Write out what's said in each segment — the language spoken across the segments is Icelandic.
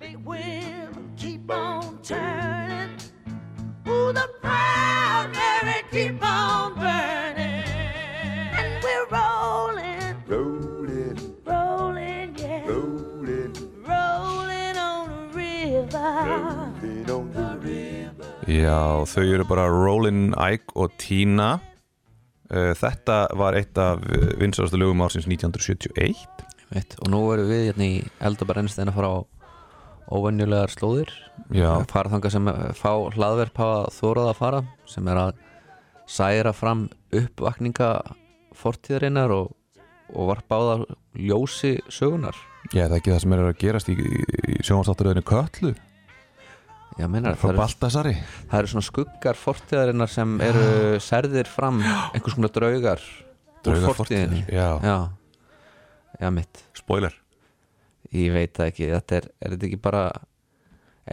big wheel keep on turning. Ooh, the proud Mary keep on burning. And we're rolling, rolling, rolling, yeah. rolling, Rolling on the river. rolling on the river. Já, þau eru bara Rollin, Ike og Tina Eh, Þetta var eitt af vinsarastu lögum ársins 1971 Mitt. Og nú erum við hérna í eldabrennstin að fara á óvenjulegar slóðir Já, fara þangað sem eh, fá hlaðverk hafa þórað að fara sem er að særa fram uppvakninga fortíðarinnar og, og varpa á það ljósi sögunar ég er það ekki það sem er að gerast í, í sjónvastátturöðinu Köllu Já, meinar, frá það, eru, Baltasari það eru svona skuggar fortíðarinnar sem eru særðir fram einhvers konar draugar, Draugar úr fortíðinni fortíðar, já. já, já, mitt Spoiler Ég veit það ekki, þetta er, er þetta ekki bara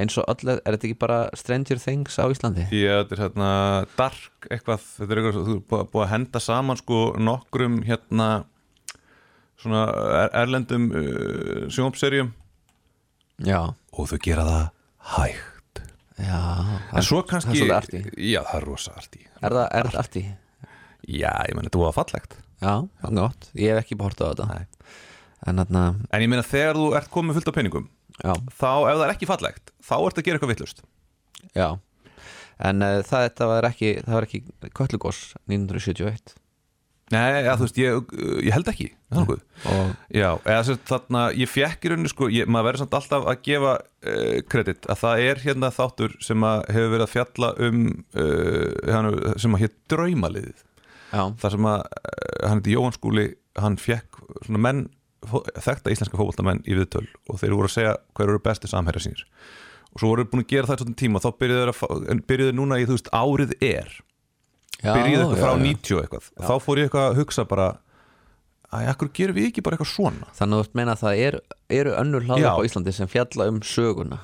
eins og öll, er þetta ekki bara Stranger Things á Íslandi? Já, þetta er hérna dark eitthvað, þetta er eitthvað, þú er búið búið að henda saman sko nokkrum hérna svona er, erlendum uh, sjónvapserjum Já, og þau gera það hægt já En svo kannski Það er svolítið arti Já, það er rosa arti Er það, er það arti? Já, ég menn, þetta var fallegt Já, það er gott, ég hef ekki bort á þetta En þarna, En ég meina þegar þú ert komið fullt af peningum já, þá ef það er ekki fallegt, þá ertu að gera eitthvað vittlust já En uh, það, þetta var ekki, það var ekki Köllugós 1971 Nei, ja, þú veist, ég, eh, ég held ekki Það er nokkuð Og, Já, eða sem sagt, þarna, ég fekk í rauninu sko, ég, maður verður samt alltaf að gefa uh, kredit að það er hérna þáttur sem að hefur verið að fjalla um uh, hann, sem að hér draumaliðið já, þar sem að uh, hann heiti Jóhann Skúli hann fekk svona menn fó- þekkta íslenska fótboltamenn í viðtöl og þeir voru að segja hver eru bestu samherja sínir og svo voru þeir búin að gera það í svona tíma og þá byrjuðu þeir að fá- en byrjuðu þeir núna í þú veist árið er já byrjuðu eitthvað já, frá já. 90 og eitthvað þá fór ég eitthvað að hugsa bara að akkur gerum við ekki bara eitthvað svona Þannig að þú ert meina að það er, eru önnur Já. hlaður á Íslandi sem fjalla um söguna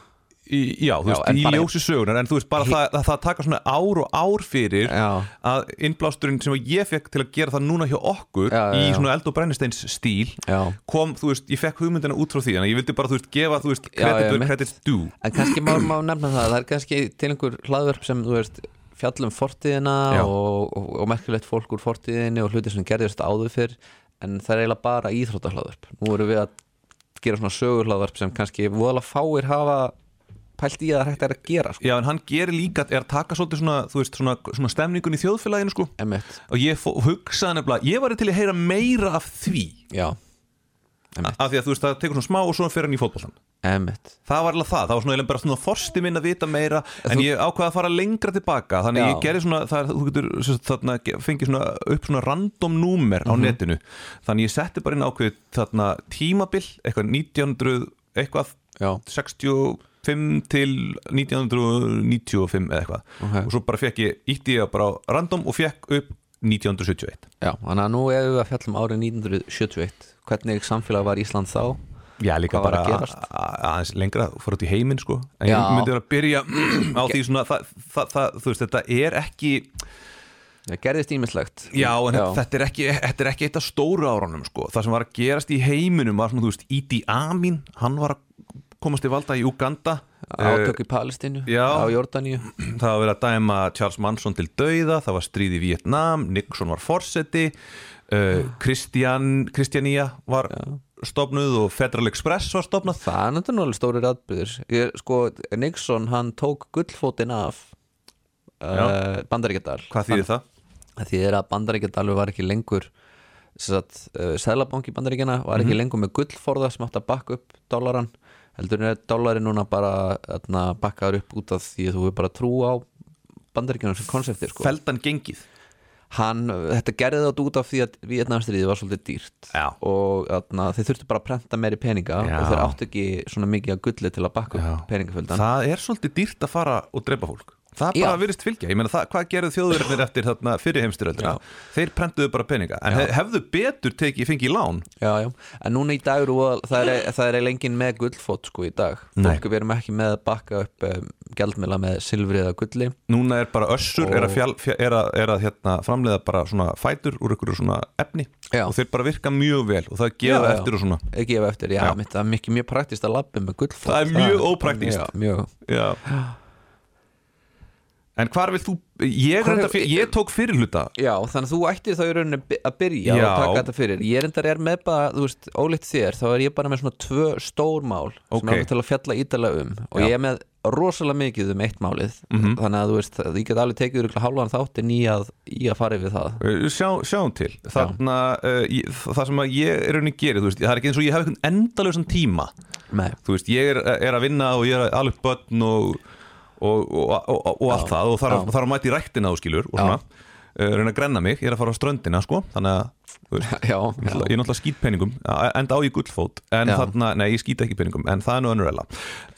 í, já, þú Já, veist, en í bara- ljósi sögunar en þú veist bara það, það, það taka svona ár og ár fyrir Já. að innblásturinn sem ég fekk til að gera það núna hjá okkur Já, já, í já. svona eld og brennisteins stíl Já. kom, þú veist, ég fekk hugmyndina út frá því en ég vildi bara, þú veist, gefa, þú veist, Já, já, credit where mitt. credit's due En kannski má, má nefna það, það er kannski til einhver hlaðverk sem, þú veist, fjallum fortíðina Já. og, og, og merkilegt fólk úr fortíðinni og hluti sem gerðist áður fyrr en það er eiginlega bara íþróttahlaðverk Nú erum við að gera svona sögurhlaðverk sem kannski voðalega fáir hafa pælt í að það er hægt er að gera sko. Já, en hann gerir líka, er að taka svolítið svona, þú veist, svona, svona stemningun í þjóðfélaginu, sko Emmett, og ég fó- hugsaði nefnilega, ég var til að heyra meira af því, já, af því að þú veist, það tekur svona smá og svo fer hann í fótbollan Emmett Það var alveg það, það var svona eiginlega bara svona forsti minn að vita meira En ég ákvaði að fara lengra tilbaka Þannig Já. ég gerði svona, það, er- þú getur sem sagt, þarna, ge- fengið svona upp svona random númer Mhm. á netinu Þannig ég setti bara inn ákveð þarna tímabil, eitthvað 1900 eitthvað Já. 65 til 1995 eða eitthvað Ok. Og svo bara fekk ég, ítti ég bara á random og fekk upp 1971 Já, þannig að nú erum við að fjallum árið 1971 hvernig samfélag var Ísland þá Já, líka Hvað var bara að gerast? a- a- aðeins lengra fór út í heiminn sko en Já. ég myndi vera að byrja á því svona það, það, það, þú veist, þetta er ekki Það gerðist ímislegt já, en þetta er ekki, þetta er ekki eitt af stóru árunum sko, það sem var að gerast í heiminum var svona, þú veist, Idi Amin hann var að komast í valda í Uganda Átök í Palestínu, já. á Jórdaníu Eh, það var verið að dæma Charles Manson til dauða, það var stríð í Vietnam Nixon var forseti uh, Christian, Christiania var stopnuð og Federal Express var stopnað Það er náttúrulega stórir atbyrður Ég, sko, Nixon hann tók gullfótinn af uh, Bandaríkjadal hvað þýðir það? Því er að Bandaríkjadalur var ekki lengur satt, uh, Sælabanki Bandaríkjana var Mhm. ekki lengur með gullforða sem átti að bakka upp dólaran heldur en dólari núna bara þarna, bakkaður upp út af því að þú er bara trú á Bandaríkjana sem konsepti sko. Feldan gengið hann, þetta gerði það út af því að Vietnamstriði var svolítið dýrt Já. og þarna, þeir þurftu bara að prenta meiri peninga Já. og þeir áttu ekki svona mikið að gulli til að bakka upp peningaföldan Það er svolítið dýrt að fara og drepa fólk Það bara Já. virðist fylgja, ég meina það, hvað gerðu þjóðverðinir eftir þarna fyrir heimstyröldina? Þeir prentuðu bara peninga, en hef, hefðu betur tekið fengi í lán Já, já, en núna í dag eru voða- það er, það er eiginlega enginn með gullfót sko í dag Nei. fólk við erum ekki með að bakka upp um, gjaldmila með silfri eða gulli Núna er bara össur, er að, fjall, fjall, er að, er að hérna, framleiða bara svona fætur úr einhverju svona efni Já. og þeir bara virka mjög vel og það gefa Já, já. eftir og svona Eða gefa eftir, já, Já. Mitt, það er mikið mjög praktist að labbi með gullfót Það er mjög ópraktískt. Já, mjög Já. En hvar vil þú ég, Hvar hvar, hefur- fyrir, ég tók fyrirluta Já, þannig að þú ættir þá í rauninni by- að byrja Já. og taka þetta fyrir Ég reyndar er með bara, þú veist, ólitt þér þá er ég bara með svona tvö stór mál Ok. sem er alveg til að fjalla ítalega um Já. og Mhm. ég er með rosalega mikið um eitt málið þannig að þú veist, ég get alveg tekið ykkur hálfan þáttin í að, í að fara yfir það Uh, Sjá, sjáum til Þarna, uh, ég, það sem að ég er raunin gerir, þú veist, það er ekki eins og ég hef einhvern endalösan tíma Nei, þú veist, ég er, er að vinna og ég er að ala upp börn og, og, og, og, og allt það og þarf, þarf að mæta í ræktina þú skilur og svona, uh, reyna að grenna mig, ég er að fara á ströndina sko, þannig að þú veist, já, ég já. er náttúrulega skýt peningum enda á ég gullfót, en Já. þarna nei, ég skýt ekki peningum, en það er nú önnurella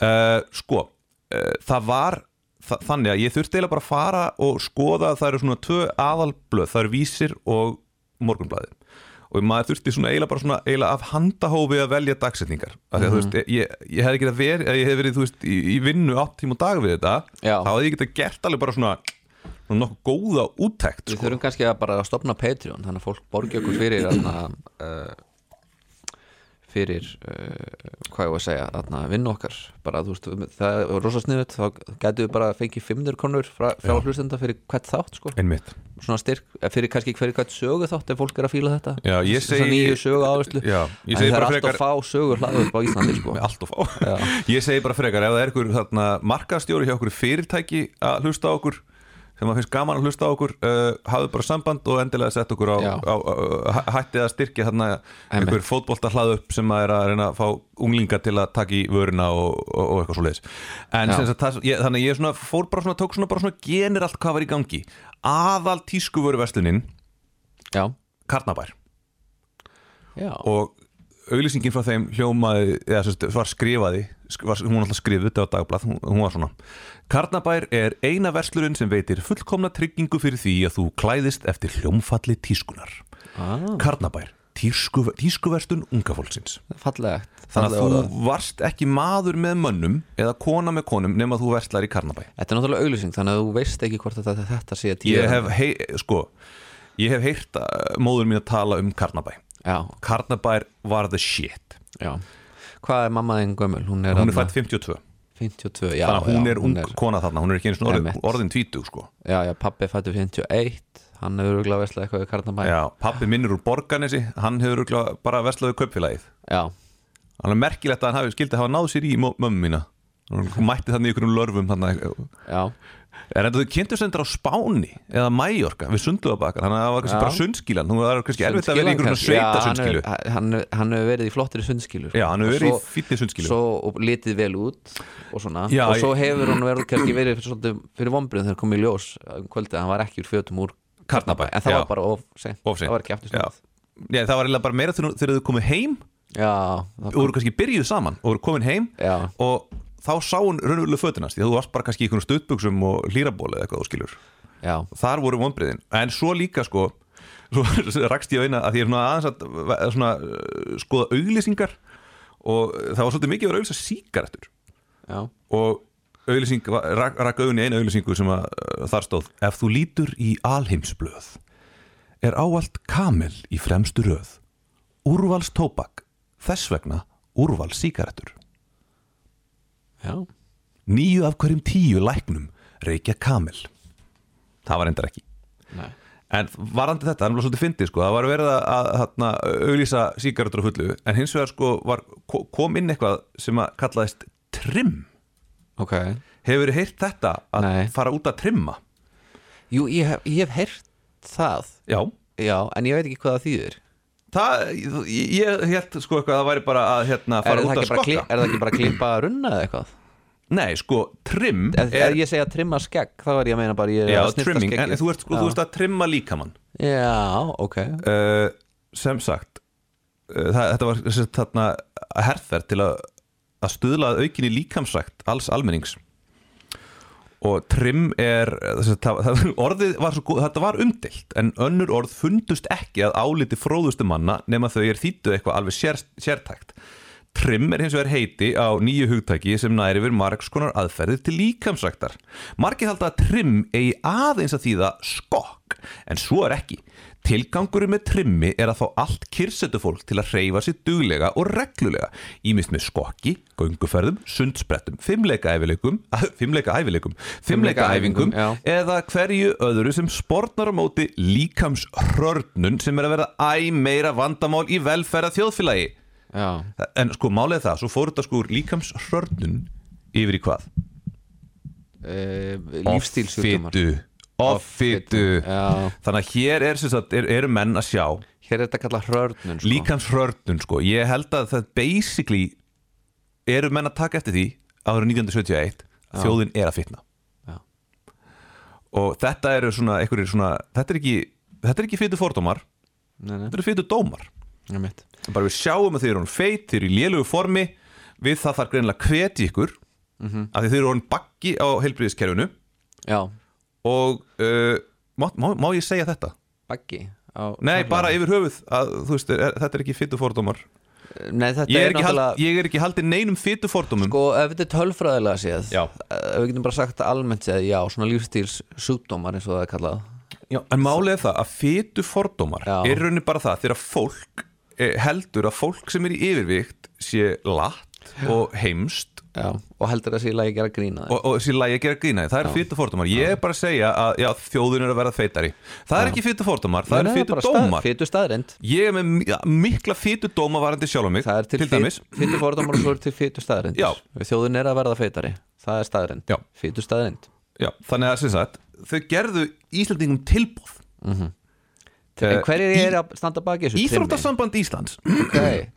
uh, sko, uh, það var þa þannig að ég þurfti eiginlega bara að fara og skoða að það eru svona tvö aðalblöð, það eru vísir og morgunblæði og maður þurfti svona eiginlega bara svona eiginlega af handahófi að velja dagsetningar af því að þú Mhm. veist, ég, ég hefði ekki verið ég hefði verið, þú veist, í, í vinnu átt tíma og dag við þetta, Já. þá hefði ég getað gert alveg bara svona, svona nokkuð góða úttekt sko, Við þurfum kannski að bara stopna Patreon þannig að fólk borgi okkur fyrir þarna, uh, fyrir uh, hvað ég var að segja þarna, vinnu okkar bara, þú veist, við- það er rosa sniðut þá gætu við bara að fengið 500 konur frá, frá hlustenda fyrir hvert þátt sko. einmitt svona styrk, eh, fyrir kannski hverju hvert sögu þátt ef fólk er að fíla þetta Já, ég Þessa segi- nýju sögu áherslu Já, ég en segi það er bara alltaf frekar- fá sögu hlaðu upp á Íslandi sko. með allt og fá ég segi bara frekar, ef það er ykkur þarna, markastjóri hjá okkur fyrirtæki að hlusta á okkur sem að finnst gaman að hlusta á okkur uh, hafðu bara samband og endilega sett okkur á, Já. á, á hæ- hættið að styrkja þarna Einmitt. einhver fótbolta hlaðu upp sem að er að reyna að fá unglinga til að taka í vöruna og, og, og eitthvað svo leiðis en Já. sem sagt, það, ég, þannig að ég svona fór bara svona, tók svona bara svona generalt hvað var í gangi aðal tískuvöruverslunin já, Karnabær já, og auglýsingin frá þeim hljómaði, eða sem sagt, var skrifaði sk- var, hún var alltaf skrifuð, þetta var dagblað hún, hún var svona, Karnabær er eina verslurinn sem veitir fullkomna tryggingu fyrir því að þú klæðist eftir hljómfalli tískunar ah, Karnabær, tísku, tískuverslun unga fólksins fallegt þannig Fallega að orðað. þú varst ekki maður með mönnum eða kona með konum nema þú verslar í Karnabær Þetta er náttúrulega auglýsing, þannig að þú veist ekki hvort þetta, þetta sé að ég hef, hei, sko ég hef heyrt uh, móður mín að tala um Karnabær Já, Karnabær var the shit Já, hvað er mamma þín gömul? Hún er, hún er þarna fætt 52 52 þannig já, að hún já, er ung kona þarna, hún er ekki einu svona orðin, Einmitt. orðin tvítug sko. Já, já, pappi er fættur 51 Hann hefur örugglega veslað eitthvað við Karnabæ Já, pappi minn er úr Borganesi, hann hefur örugglega bara verslaðið kaupfélagið. já, Hann er merkilegt að hann hafi skildið að hafa náð sér í mö- mömmu mína. Hún mætti þannig í einhverjum lörfum þannig. já, Er þetta þau kynntu sendur á Spáni eða Mæjorka við sundluðabakar, þannig að það var kannski Já. bara sundskílan, hún var kannski erfitt að vera í einhverjum Sundskýlan sveita kannski. sundskílu. Já, hann, er- hann, er- hann hefur verið í flottri sundskilu Já, hann hefur Og verið í svo- fínni sundskýlu. Svo og litið vel út og svona Já, Og svo hefur hann verið kannski verið fyrir, svolítið, fyrir vombrið þegar komið í ljós um kvöldið að Hann var ekki úr fjötum úr Karnabæ, En það já. var bara of seint Of seint. Það var ekki aftur Já. Já, það var eiginlega bara meira þegar þegar þau komið heim Já, og voru kannski byrjuð saman og voru komin heim Já. og þá sá hún raunverulega fötinast því að þú varst bara kannski í einhvern stuttbuksum og hlýrabóli eða eitthvað þú skilur já, já, þar voru vonbriðin en svo líka sko svo rakst ég á eina að því ég er svona aðeins að ve- svona, uh, skoða auglýsingar og það var svolítið mikið að vera að auglýsa síkaretur já, og auglýsing, var- rak, rak augunni eina auglýsingu sem að, uh, þar stóð ef þú lítur í alheimsblöð er áallt kamel í fremstu röð úrvals tóbak þess vegna úrvals síkaretur já. níu af hverjum tíu læknum reykja kamel það var endar ekki Nei. En varandi þetta, hann var svolítið fyndið sko, það var verið að, að þarna, auglýsa sígarettur á fullu, en hins vegar sko var, ko- kom inn eitthvað sem að kallaðist trim. Ok Hefur þið heyrt þetta að Nei. fara út að trimma? Jú, ég hef, ég hef heyrt það Já. Já, en ég veit ekki hvað það þýðir Það, ég, ég held sko eitthvað að það væri bara að hérna, er fara það, út að ekki bara skokka. kli, er það ekki bara að klippa að runna eða eitthvað? Nei, sko, trim Ef, ef ég segja trimma skegg, þá er ég að meina bara ég er já, að snirta trimming, en skeggið. þú ert, sko, já. þú ert að trimma líkamann. Já, ok uh, sem sagt uh, það, þetta var sem sagt, þarna herðferð til að, að stuðla að aukinni líkamsrækt alls almennings og trim er þess að það, það, orðið var svo góð, þetta var umdilt en önnur orð fundust ekki að áliti fróðustu manna nema þau er þýttu eitthvað alveg sér, sértækt Trim er hins vegar heiti á nýju hugtæki sem næri yfir margs konar aðferðir til líkamsræktar. Margir halda að trim eigi aðeins að þýða skokk, en svo er ekki. Tilgangurinn með trimmi er að fá allt kyrsetu fólk til að hreyfa sér duglega og reglulega, ímist með skokki, gönguferðum, sundsprettum, fimmleika æfileikum, fimmleika æfileikum, fimmleika æfingum, já. eða hverju öðru sem sportnar á móti líkamshrörnun sem er að verða æ meira vandamál í velferða þjóðfélagi. já, En sko málið er það, svo fór þetta sko úr líkamshrörnun yfir í hvað? e, lífstílsjúkdómar Offitu, offitu Já. Þannig að hér er, sem sagt, er, eru menn að sjá hér er þetta kallað hrörnun sko. líkamshrörnun sko Ég held að það basically eru menn að taka eftir því áður en 1971 að þjóðin er að fitna Já. Og þetta eru svona, einhverjir svona þetta er ekki, þetta er ekki fitu fordómar nei, nei, þetta eru fitu dómar einmitt. bara við sjáum að þeir eru hún feit, þeir eru í lélugu formi við það þarf greinilega að hvetja ykkur af því þeir eru hún baggi á heilbriðiskerfinu já, og uh, má, má, má ég segja þetta? baggi á- Nei, bara yfir höfuð að, þú veist, er, þetta er ekki fytu fordómar nei, þetta ég er, er, ekki náttúrulega hald, ég er ekki haldið neinum fytu fordómum sko, ef þetta er tölfræðilega séð Já. ef við getum bara sagt almennt séð já, svona lífstílsjúkdómar eins og það er kallað Já, en málið er það að fytu fordómar Já. er raunin bara það þegar fólk eh, heldur að fólk sem er í yfirvikt sé latt og heimst já, og heldur að sé í lagi að gera grína og, og þessi lægi að gera grínaði, það er fytu fordómar ég er bara að segja að já, þjóðin er að verða feitari það er ekki fytu fordómar, það er fytu dómar fytu staðrind ég er með mi- ja, mikla fytu dóma varandi sjálf mig það er til, til dæmis fytu fordómar og svo er til fytu staðrind Já. þjóðin er að verða feitari, það er staðrind Já. fytu staðrind já, þannig að sem sagt, þau gerðu Íslandingum tilbúð Mhm. en Eh, hverjir í- eru að standa baki þessu Íþróttasamband Íslands okay.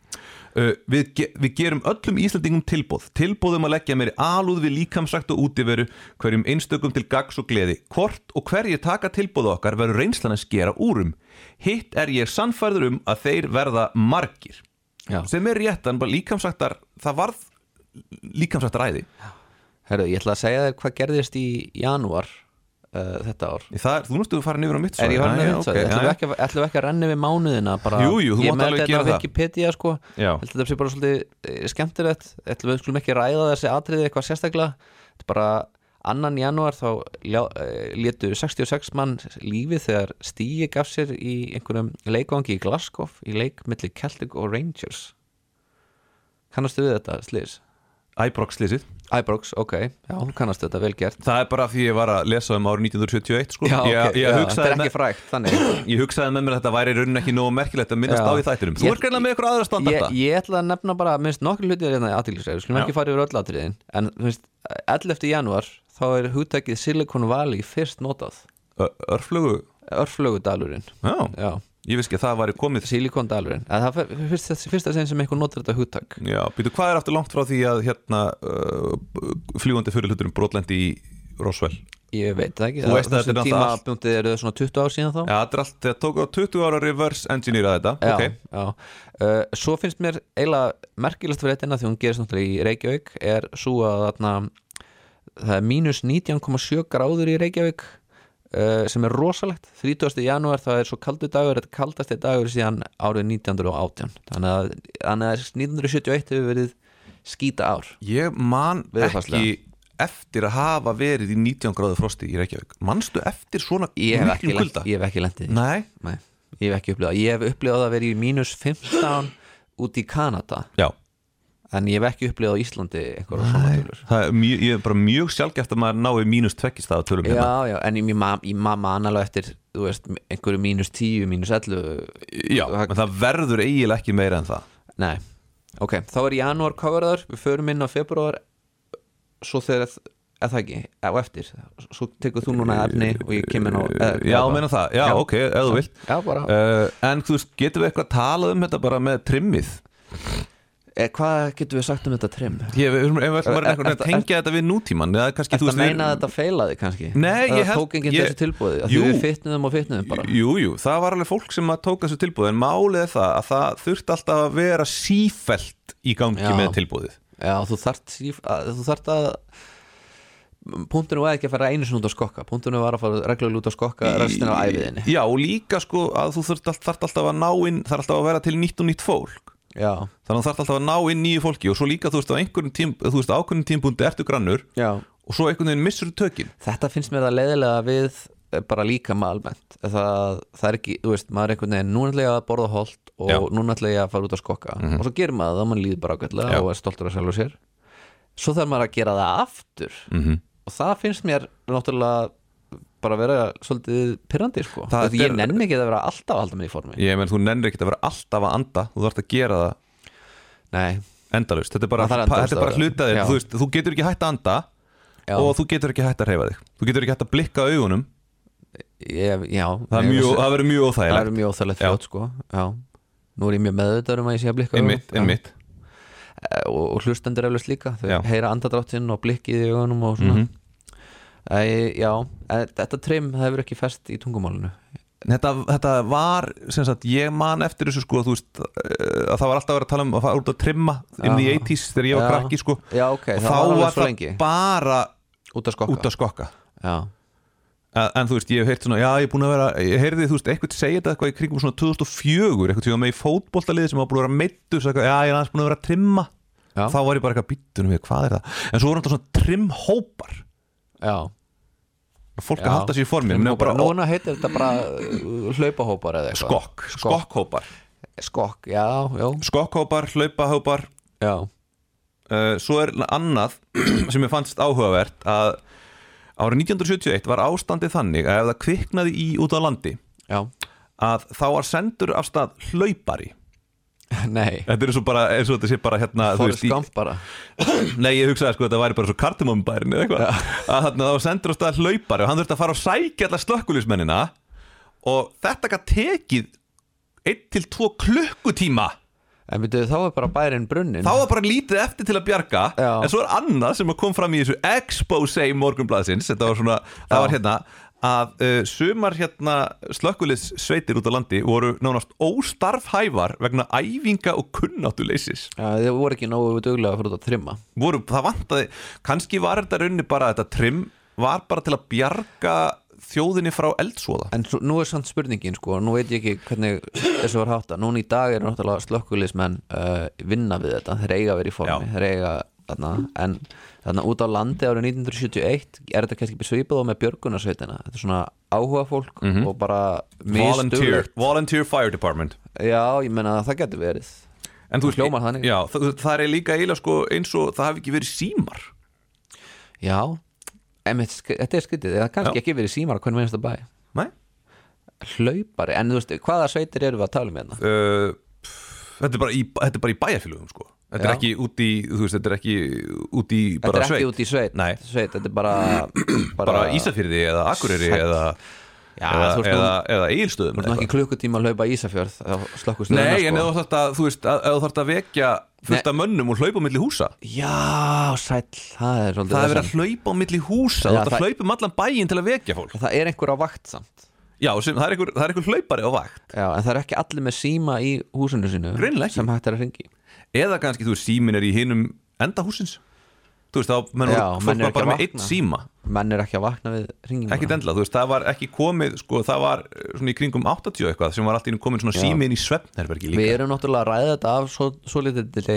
Uh, við, ge við gerum öllum Íslandingum tilbóð tilbóðum um að leggja meiri alúð við líkamsrækt og útiveru hverjum einstökum til gags og gleði hvort og hverjir taka tilbóðu okkar verður reynslan að skera úrum hitt er ég sannfærður um að þeir verða margir Já. sem er réttan, bara líkamsræktar það varð líkamsræktaræði Herru, ég ætla að segja þér hvað gerðist í janúar uh, þetta ár það er, þú nústu að fara niður á mitt Er ég farin Jæja, að vitsa ok, það? Ætlum við jæja. ekki, að- ætlum við ekki að renni við mánuðina bara, Jú, jú, þú Ég mátt með alveg þetta gera hérna á það. Wikipedia sko Já. Held að þetta sé bara svolítið eh, skemmtilegt Ætlum við skulum ekki ræða þessi atriði eitthvað sérstaklega Þetta er bara annan janúar þá ljá, eh, létu 66 mann lífið þegar Stíi gaf sér í einhverjum leikvangi í Glasgow í leik milli Celtic og Rangers Kannastu við þetta, Slýs? Ibrox slysið Ibrox, ok, já, þú kannastu þetta, vel gert það er bara því ég var að lesa um árið 1971 sko. Já, ég, ok, ég já, þetta hugsaði er með- ekki frægt, þannig Ég hugsaði með mér að þetta væri í rauninni ekki nógu merkilegt að minnast Já. á í þættinum Þú Ég- ert greinlega með ykkur aðra ég, standarta ég ætla að nefna bara minnst nokkur hlutir hérna í aðtýrlisræði, við skulum Já. ekki fara yfir öll aðtýrliðin en þú veist, 11. janúar þá er hugtækið Silicon Valley fyrst notað, Ö- Örflögu, örflögudalurinn já, já, ég veist ekki að það væri komið Silicon-dalurinn en það fer- fyrst, fyrst, fyrsta segin sem eitthvað notar þetta hugtak Já, býtu, hvað er aftur langt frá því að hérna uh, fljúandi fyrirluturum brotlendi í Roswell ég veit það ekki, Þú veist að þetta er þessum náttúrulega allt- tímabjúndið eru það svona 20 ár síðan þá Já, þetta er allt, þetta tók á 20 ára reverse engineer að þetta já, Ok. já. Uh, svo finnst mér eiginlega merkilegt fyrir þetta því hún gerist náttúrulega í Reykjavík er svo að þarna það er mínus 19,7 gráður í Reykjavík uh, sem er rosalegt 30. janúar það er svo kaldu dagur þetta er kaldasti dagur síðan árið 1918 þannig að, þannig að 1971 hefur verið skýta ár Ég man Veðurfarslega. ekki eftir að hafa verið í 19 gráðu frosti í Reykjavík Manstu eftir svona ég hef ekki miklum lent- kulda? ég hef ekki lendið Nei, Nei, ég hef ekki upplifað það. ég hef upplifað að vera í mínus 15 út í Kanada já en ég hef ekki upplifað á Íslandi einhverja svona tölur Það er mjög, ég er bara mjög sjálfgæft að maður nái mínus tvekkist að tölum hérna Já, já, en ég ma- ég ma- man alveg eftir þú veist, einhverju mínus 10, mínus 11 Já, menn það verður eiginlega ekki meira en það Nei, ok, þá er janúar kofaraður, við förum inn á februar svo þegar eða það ekki, á eftir svo tekur þú núna efni og ég kem inn á eða- Já, eða- meina það, já, Eh, Já. ok, ef þú vilt Já, bara, uh, En þú veist, getum við eitthvað talað um þetta bara með trimmið? e, hvað getum við sagt um þetta trim? Ég, við erum eitthvað Er- bara eitthvað ertu- að tengja þetta við nútíman eða kannski, Eh, þú Ertu að veist, við- meina að þetta feilaði kannski? Nei, ég Það held- tók enginn ég- þessu tilbúði, að Jú. því við fitnuðum og fitnuðum bara Jú, jú, það var alveg fólk sem að tóka þessu tilbúð en málið er það að það þurfti alltaf að vera sífelt í gangi Já. með tilbúðið Já, þú þart, þú þart að punktunum var ekki að fara einu sinni út að skokka punktunum var að fara reglulega út að skokka restina af æfiðinni Já, og líka sko að þú þarft all- þarft alltaf að ná inn þarf alltaf að vera til nýtt og nýtt fólk já, þannig að þú þarft alltaf að ná inn nýju fólki og svo líka þú veist á einhverjum tím, þú veist ákveðnum tímpundi ertu grannur já. og svo einhvern veginn missur tökin þetta finnst mér það leiðilega við eh, bara líka með almennt það, það er ekki, þú veist, maður er einhvern veginn núna ætla ég að borða holt og Já. Mhm. núna ætla ég að fara út að skokka og svo gerir maður það og mann líður bara ágætlega Já. og er stoltur að sjálfu sér svo þarf maður að gera það aftur Mhm. og það finnst mér náttúrulega bara að vera svolítið pyrrandi sko. Það Þú veist, ég er- nenni ekki að vera alltaf að halda mig í formi ég menn þú nennir ekkert að vera alltaf að anda þú þarft að gera það Nei, endalaust, þetta er bara, Það er endalaust þetta er bara að vera. hlutaðir Já. þú, veist, þú getur ekki hætt að anda Já. og þú getur ekki hætt að hreyfa þig þú getur ekki hætt að blikka augunum ég, já það, er ég mjög, vissi- það verður mjög það er óþægilegt mjög óþægilegt Já. þjótt sko já. Nú er ég mjög meðvitaður um að ég sé að blikka einmitt, augunum. Já. einmitt Eh, og, og hlustendur eflaust líka þau Já. Mhm. heyra andadráttinn og blikkið í augunum og svona mm Já, eh, þetta trim það hefur ekki fest í tungumálinu þetta, þetta var, sem sagt, ég man eftir þessu sko, þú veist, eh, að það var alltaf að vera að tala um að fara út að trimma in the Já. 80s þegar ég var Já. krakki sko Já, ok, Og það þá var alveg var svo það lengi. bara út að skokka út að skokka Já, En, en þú veist, ég hef heyrt svona, já, ég er búin að vera ég heyrði, þú veist, eitthvað segja þetta eitthvað í kringum svona 2004, eitthvað tíma með í fótboltaliði sem var búin að vera meittu, sagði, já, ég er aðeins búin að vera að trimma Já. þá var ég bara eitthvað býttunum við, hvað er það en svo voru alltaf svona trimhópar já fólk já. að halda sér í formin, nema Trimhópar. bara Núna heitir þetta bara uh, hlaupahópar eða eitthvað skokk, Skokk, skokkhópar skokk já, já, skokkhópar, hlaupahópar já uh, svo er annað sem ég fannst áhugavert að árið 1971 var ástandið þannig að ef það kviknaði í út á landi Já, að þá var sendur af stað hlaupari nei Þetta er svo bara, eins og þetta sé bara hérna þú Forrest í- Gump bara Nei, ég hugsaði sko, þetta væri bara svo kartumambærin eða eitthvað Að þarna þá sendur á stað hlaupari og hann þurfti að fara og sækja allar slökkulismennina Og þetta gætt tekið 1 til 2 klukkutíma En byrjuðu þá er bara bærin brunnin Þá var bara lítið eftir til að bjarga Já. En svo er annað sem að kom fram í þessu expose morgunblaðsins Þetta var svona, það var hérna að uh, sumar hérna slökkulis út á landi voru nánast óstarfhæfar vegna æfinga og kunnátuleysis Já, þið voru ekki nógu duglega fyrir þetta að trimma voru, það vantaði kannski var þetta raunni bara þetta trim var bara til að bjarga þjóðinni frá eldsvoða En svo, nú er samt spurningin sko Nú veit ég ekki hvernig þessu var hátta Núna í dag er náttúrulega slökkulismenn uh, vinna við þetta Þeir eiga að vera í formi Já. Þeir eiga þarna En þarna út á landi árið 1971 Er þetta kannski besvipað á með björgunarsveitina Þetta er svona áhuga fólk Og bara Mhm. volunteer, mistuglegt volunteer Fire Department Já, ég menna að það getur verið en þú veist- Hljómar þannig. já, það, það er líka eiginlega sko eins og það hafi ekki verið símar Já Einmitt, sk- þetta er skytið, það er kannski Já. ekki verið símar á hvernig minnst að bæ Nei? hlaupari, en þú veist, hvaða sveitir eru við að tala um hérna? Uh, pff, þetta, er bara í, þetta er bara í bæjarfélugum sko þetta er Já. ekki út í, þú veist, þetta er ekki út í Þetta bara er ekki sveit út í sveit, Nei. sveit þetta er bara bara, Ísafyrði eða Akureyri Sæll. eða, Já, eða, þú ert nú- eða, eða Egilstöðum Þú ert nú ekki klukkutíma að hlaupa í Ísafjörð þá sko. slökkust Nei, en ef þú þarft að, þú veist, að, ef þú þarft að vekja fullt af mönnum og hlaupa á milli húsa Já, sæll, það er svolítið Það er verið vesen. að hlaupa á milli húsa Já, Þú ert að það- hlaupa um allan bæinn til að vekja fólk Það er einhver á vakt samt Já, sem, það, er einhver, það er einhver hlaupari á vakt Já, en það er ekki allir með síma í húsinu sinu Greinilega ekki. sem hægt er að ringi Eða kannski, þú veist, símin er í hinum enda húsins Þú veist, þá menn, Já, voru- menn fólk eru var ekki bara að með eitt vakna. síma Menn er ekki að vakna við ringinguna Ekkit endla, þú veist, það var ekki komið sko, Það var eh, svona í kringum 80 og eitthvað sem var alltaf komin svona símin í svefnherbergi Við líka erum náttúrulega að ræða þetta af svo, svo litið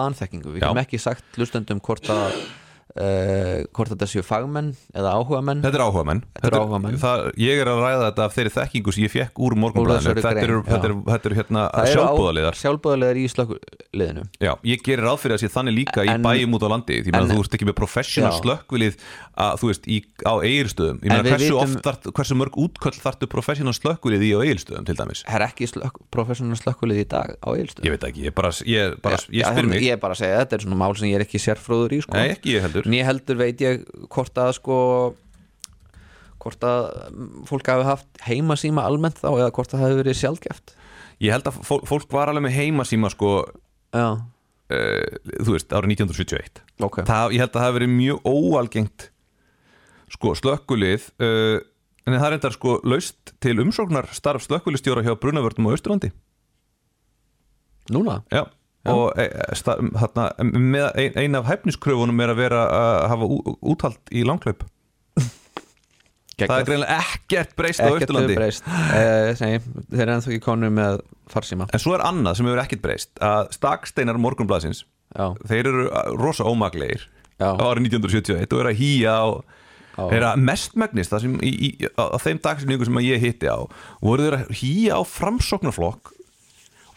vanþekkingu Við Já. getum ekki sagt hlustendum hvort að uh, hvort þetta séu fagmenn eða áhugamenn Þetta er áhugamenn, Þetta er áhugamenn. það, Ég er að ræða þetta af þeirri þekkingu sem ég fekk úr morgunblæðinu þessari Þetta grein, eru já. þetta eru- þetta eru hérna Það eru á- sjálfbúðaliðar Sjálfboðaliðar í slökkuliðinu Já, ég gerir ráð fyrir að sé þannig líka í En- bæjum út á landi Því að en- þú ert ekki með professional Já. slökkvilið að, Þú veist, í, á eigirstöðum Ég En meina við hversu, vitum- vitum... þart, hversu mörg útköll þartu professional slökkvilið í á eigirstöðum til dæmis Það er ekki slökk, professional slökkulið í dag á Egilstöð Ég veit ekki, ég, bara, ég, bara, ég Já, spyr hérna, mig Ég er bara að segja, þetta er svona mál sem ég er ekki sérfróður í sko. Nei, ekki ég heldur Né heldur veit ég hvort að sko hvort að mm, fólk hafi haft heimasíma almennt þá eða hvort það hafi verið sjálfgeft Ég held að fólk, fólk var alveg með heimasíma sko, Já, uh, þú veist, árið 1971 ok það, Ég held að það hafi verið mjög óalgengt sko, slökkvilið uh, En það er endar sko laust til umsóknar starf slökkvilistjóra hjá Brunavörnum á Austurlandi Núna? Já og e, e, sta, þarna, með, ein, ein af hæfniskröfunum er að vera að hafa ú, úthald í langklaup það er greinlega ekkert breyst á ekkert Östurlandi breyst eh, nei, þeir eru ennþá ekki konu með farsíma en svo er annað sem hefur ekkert breyst að staksteinar morgunblasins já, þeir eru rosa ómaglegir Já. á árið 1971 og eru að hýja og Já. þeir eru að mestmægnist það sem í, í, á, á þeim dagsinningu sem ég hitti á voru þeir að hýja á framsóknarflokk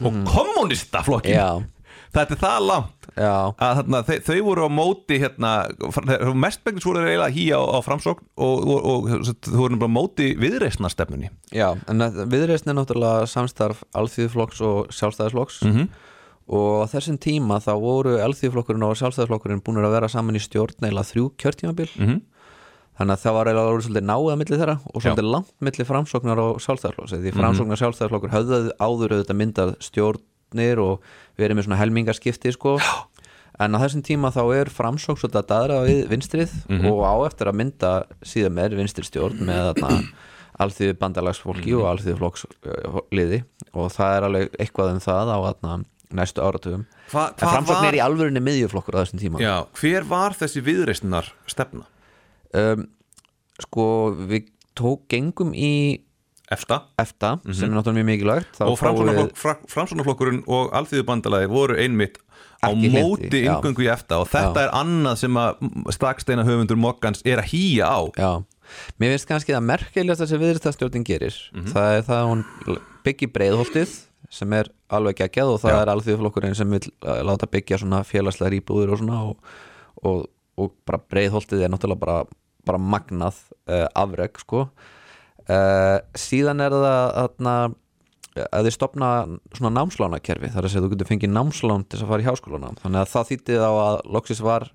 og kommunistaflokkin Mm. Já. þetta er það langt já, að þarna, þau, þau voru á móti hérna, mestmægnist voru þeir eiginlega að hýja á, á framsókn og, og, og, og þú voru nefnilega á móti viðreisnarstefnunni já en viðreisn er náttúrulega samstarf alþýðflokks og sjálfstæðisflokks og á þessum tíma þá voru alþýðflokkurinn og sjálfstæðisflokkurinn búin að vera saman í stjórn eila þrjú kjörtímabil -hmm. þannig að það var eiginlega orðið svolítið náða milli þeirra og svolítið langt milli framsóknar og sjálfstæðisflokks Mhm. því framsóknar og sjálfstæðisflokkur höfðu áður auðvitað myndað stjórnir og verið með svona helmingaskipti sko en á þessum tíma þá er framsókn svolítið að daðra við vinstrið Mhm. og á eftir að mynda síðan með vinstri stjórn með þarna alþýðu bandalagsfólki og alþýðu flokksliði og það er alveg eitthvað um það á þarna næstu áratugum Hva- en hvað framsókn var- er í alvörinni miðjuflokkur á þessum tíma Já, hver var þessi viðreisnarstefna? um, sko við tók gengum í Efta EFTA sem er náttúrulega mjög mikilvægt Þá Mhm. og fáum við- framsóknarflokk, fra- framsóknarflokkurinn og alþýðubandalagi voru einmitt á Ekki hlynntir, móti já. yngöngu í efta og þetta Já. er annað sem að staksteina höfundur Mokkans er að hýja á Já, mér finnst kannski það merkilegast sem viðristastjórnin gerir Mhm. það er það að hún byggi breiðholtið sem er alveg geggjað og það Já. er alþjóðflokkurinn sem vil uh, láta byggja svona félagslegar íbúður og svona og, og, og bara breiðholtið er náttúrulega bara, bara magnað uh, afreg sko uh, síðan er það þarna að þið stopna svona námslánakerfi þar að segja þú getur fengið námslán til þess að fara í háskólanám þannig að það þýtti þá að loksis var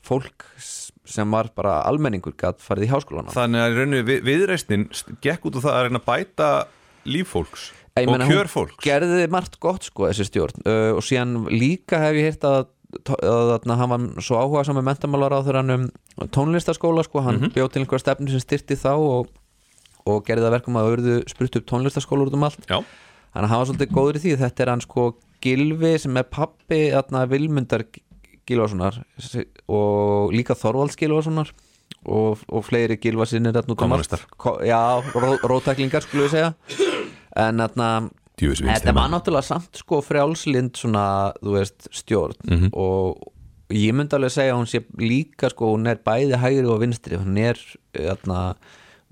fólk s- sem var bara almenningur gætt farið í háskólanám þannig að í rauninni við, viðreisnin st- gekk út á það að reyna að bæta líf fólks Ég og meina, hún kjör fólks gerði margt gott sko þessi stjórn uh, og síðan líka hef ég heyrt að, að, að hann var svo áhuga saman með mentamálar á þeirra um tónlistaskóla sko, hann Mhm. bjó til einhverja stefnu sem styrti þá og, og gerði það verkum að auðvitað sprutt upp tónlistaskóla út um allt Já, þannig að hann var svolítið góður í því þetta er hann sko Gilvi sem er pappi þarna Vilmundar Gilvasonar s- og líka Þorvalds Gilvasonar og, og fleiri Gilvasinir þarna út um allt. Kommúnistar. Ko- já, ró, rótæklingar skulle við segja en þarna Djöfusi vinstri þetta var maður. náttúrulega samt sko frjálslind svona, þú veist, stjórn Mhm. og ég myndi alveg segja að hún sé líka sko, hún er bæði hægri og vinstri, hún er þarna,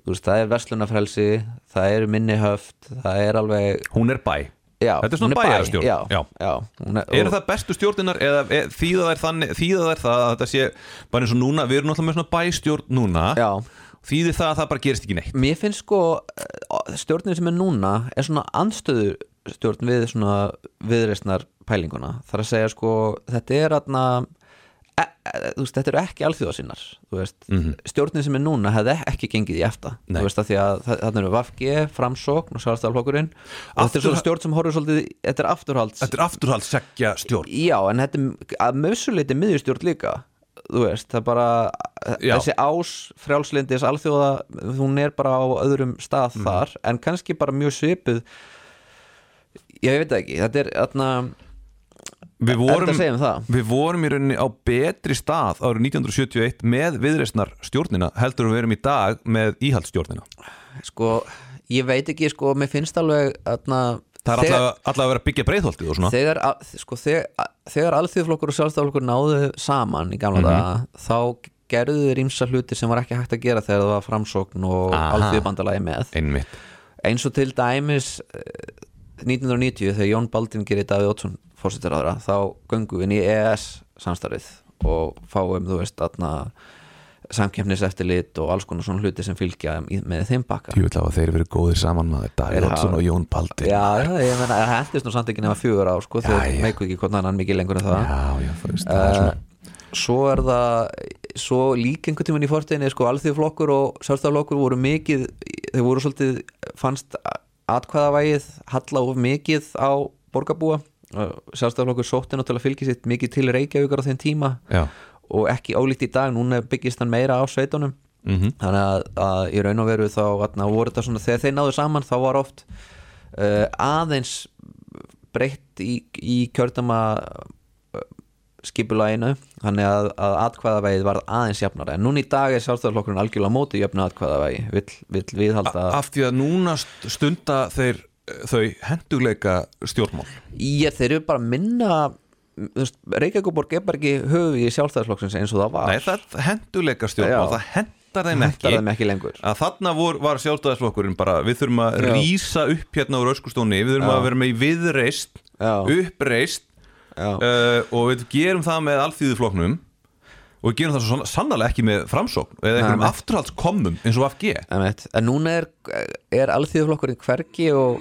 þú veist, það er verslunafrelsi það er minni höft, það er alveg hún er bæ já, Þetta er hún svona bæ, bæjarstjórn já, já. hún er, Eru og- það bestu stjórninar eða e, þýða þær, þannig, þýða þær það að þetta sé bara eins og núna, við erum náttúrulega með svona bæstjórn núna já. þýðir það að það bara gerist ekki neitt mér finnst sko eh, stjórnin sem er núna er svona andstöðu stjórn við svona viðreisnar pælinguna þar að segja sko þetta er atna, e, e, þú veist, þetta eru ekki alþjóðasinnar þú veist, stjórnin sem er núna hefði ekki gengið í efta Mhm. Nei. þú veist að því að þa- þarna eru Vafgi, Framsókn og Sjálfstæðalflokkurinn og þetta er Aftur- svona stjórn sem horfir svolítið þetta er afturhalds Þetta er afturhalds sekja stjórn Já, en þetta er að mössuleiti miðjustjórn líka þú veist, það er bara Já. þessi ás frjálslindis alþjóða, hún er bara á öðrum stað Mhm. þar, en kannski bara mjög svipuð ég veit það ekki, þetta er atna, Við er þetta vorum, að segja um það? við vorum í rauninni á betri stað árið 1971 með viðreisnar stjórnina heldur en við erum í dag með íhaldsstjórnina sko, ég veit ekki, sko, mér finnst alveg atna, Það er alltaf, alltaf að vera að byggja breiðholtið og svona þegar, að- sko, þegar, þegar alþjóðflokkur og sjálfstæðflokkur náðu saman í gamla Mhm. daga, þá gerðu þeir ímsa hluti sem var ekki hægt að gera þegar það var framsókn og Aha. alþjóðbandalagi með Einmitt eins og til dæmis eh, 1990 þegar Jón Baldin gerir Davíð Ótsson fórsettaráðra þá göngum við inn í EES samstarfið og fáum þú veist aðna samkeppniseftirlit og alls konar svona hluti sem fylgja í- með þeim bakka Ég vil hafa þeir verið góðir saman maður Þeir Davíð hafa- Oddsson og Jón Baldi Já, já, ég menna, það hendist nú samt ekki nema fjögur á sko, Já, já. þegar meiku ekki hvernig annan mikið lengur en það já, já, þú veist það er svona Eh, svo er það svo líka einhvern tímann í fortíðinni sko alþjóðflokkur og sjálfstæðflokkur voru mikið þeir voru svolítið fannst atkvæðavægið halla of mikið á borgarbúa sjálfstæðflokkur sótti náttúrulega fylgið sitt mikið til Reykjavíkar á þeim tíma Já. og ekki ólíkt í dag, núna byggist hann meira á sveitunum Mhm. -hmm. þannig að, að í raun og veru þá atna, voru þetta svona þegar þeir náðu saman þá var oft uh, eh, aðeins breytt í, í kjördama skipulaginu þannig að, að atkvæðavægið var aðeins jafnara en núna í dag er sjálfstæðarflokkurinn algjörlega á móti jöfnu atkvæðavægi, vill, vill viðhalda af því að núna st- stunda þeir eh, þau henduleika stjórnmál ég þeir eru bara að minna þú veist, Reykjavíkuborg er bara ekki höfu í sjálfstæðarflokksins eins og það var Nei, það er henduleika stjórnmál, Já. það hendar þeim Hentar ekki, þeim ekki lengur. að þarna vor, var sjálfstæðisflokkurinn bara, við þurfum að Já. rísa upp hérna úr öskustóni, við þurfum Já. að vera með í viðreist, Já. uppreist Já. uh, og við gerum það með alþýðuflokknum og við gerum það svo sannlega ekki með framsókn eða einhverjum Nei. afturhaldskomnum eins og FG Einmitt. En núna er, er alþjóðflokkurinn hvergi og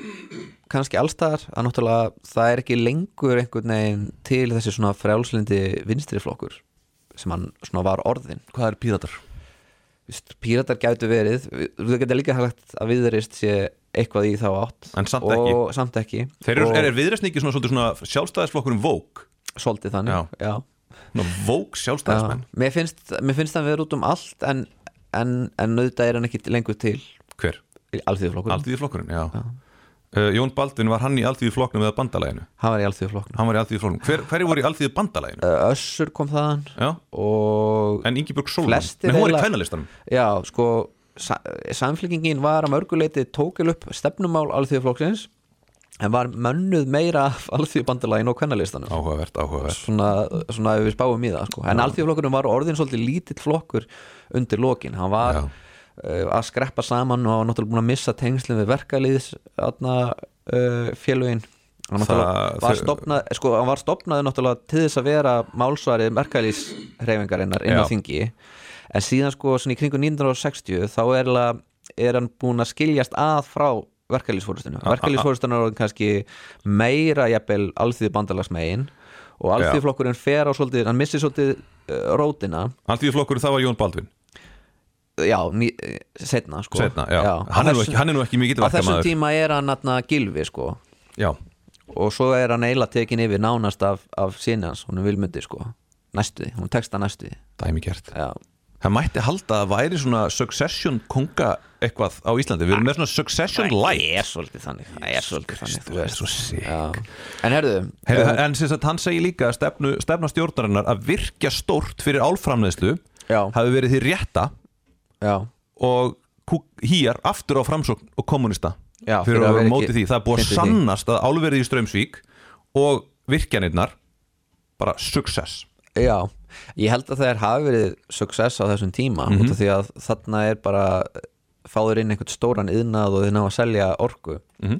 kannski allstaðar að náttúrulega það er ekki lengur einhvern veginn til þessi svona frjálslindi vinstriflokkur sem hann svona var orðin Hvað er píratar? Vist, Píratar gætu verið, við- þú getur líka hægt að viðreist sé eitthvað í þá átt En samt og samt ekki Þeir eru, og er, er viðreist ekki svona, svolítið svona sjálfstæðisflokkurinn vók? svolítið þannig Já. Já. Svona vók Já. sjálfstæðismenn? Mér, finnst, mér finnst það vera út um allt en, en, en auðvitað er hann ekki lengur til Hver? alþjóðflokkurinn, Alþýðuflokkurinn, já, Uh, Jón Baldvin var hann í alþýðuflokknum eða bandalaginu? hann var í alþjóðflokknum Hann var í alþýðuflokknum, Hver, hverju voru í alþýðubandalaginu? Össur kom þaðan Já, og en Ingeborg Sólman Flestir Nei, hún var í eiginlega- kvænalistanum Já, sko sa- samfélkingin var að mörguleiti tókil upp stefnumál alþjóðflokksins en var mönnuð meira af alþjóðbandalægin og kvennalistanum Áhugavert, áhugavert svona, svona ef við spáum í það sko. en alþjóðflokkurinn var orðin svolítið lítill flokkur undir lokin, hann var Já. uh, að skreppa saman og hann var náttúrulega búin að missa tengslum við verkaliðs atna, uh, félögin hann náttúrulega Það- var þau- stopnað sko, hann var stopnaði náttúrulega til þess að vera málsvarið verkaliðs hreyfingarinnar inn Já. á þingi en síðan sko svona í kringu 1960 þá er, la, er hann búin að skiljast að frá verkefliðsfórustinu verkefliðsfórustinu er orðin kannski meira jafnvel alþýðu bandalagsmegin og alþýðuflokkurinn fer á svolítið hann missir svolítið uh, rótina Alþýðuflokkurinn það var Jón Baldvin já, ný, setna sko Setna, já. Hann, er nú Á ekki, hann er nú ekki mikill á þessum verkamaður tíma er hann atna, gilvi sko Já, og svo er hann eiginlega tekin yfir nánast af, af sinni hans, hún er vilmundi sko næstuði, hún texta næstuði dæmi gert já, Það mætti halda að væri svona succession konga eitthvað á Íslandi Við erum með svona succession light er svolítið þannig það er svolítið þannig þú Það er veist. svo sick Já. en herðu, Heyrðu, En sem sagt, hann segir líka að stefnu, stefna stjórnarinnar að virkja stórt fyrir álframneðslu Já. hafi verið því rétta já, og kú- hýjar aftur á framsókn og kommunista Já, fyrir að vera móti því ekki- það er búið að hlynntir því. sannast að álverið í Strömsvík og virkjanirnar bara success já ég held að það er hafi verið success á þessum tíma Mhm. út af því að þarna er bara fáður inn einhvern stóran yðnað og þeir ná að selja orku Mhm.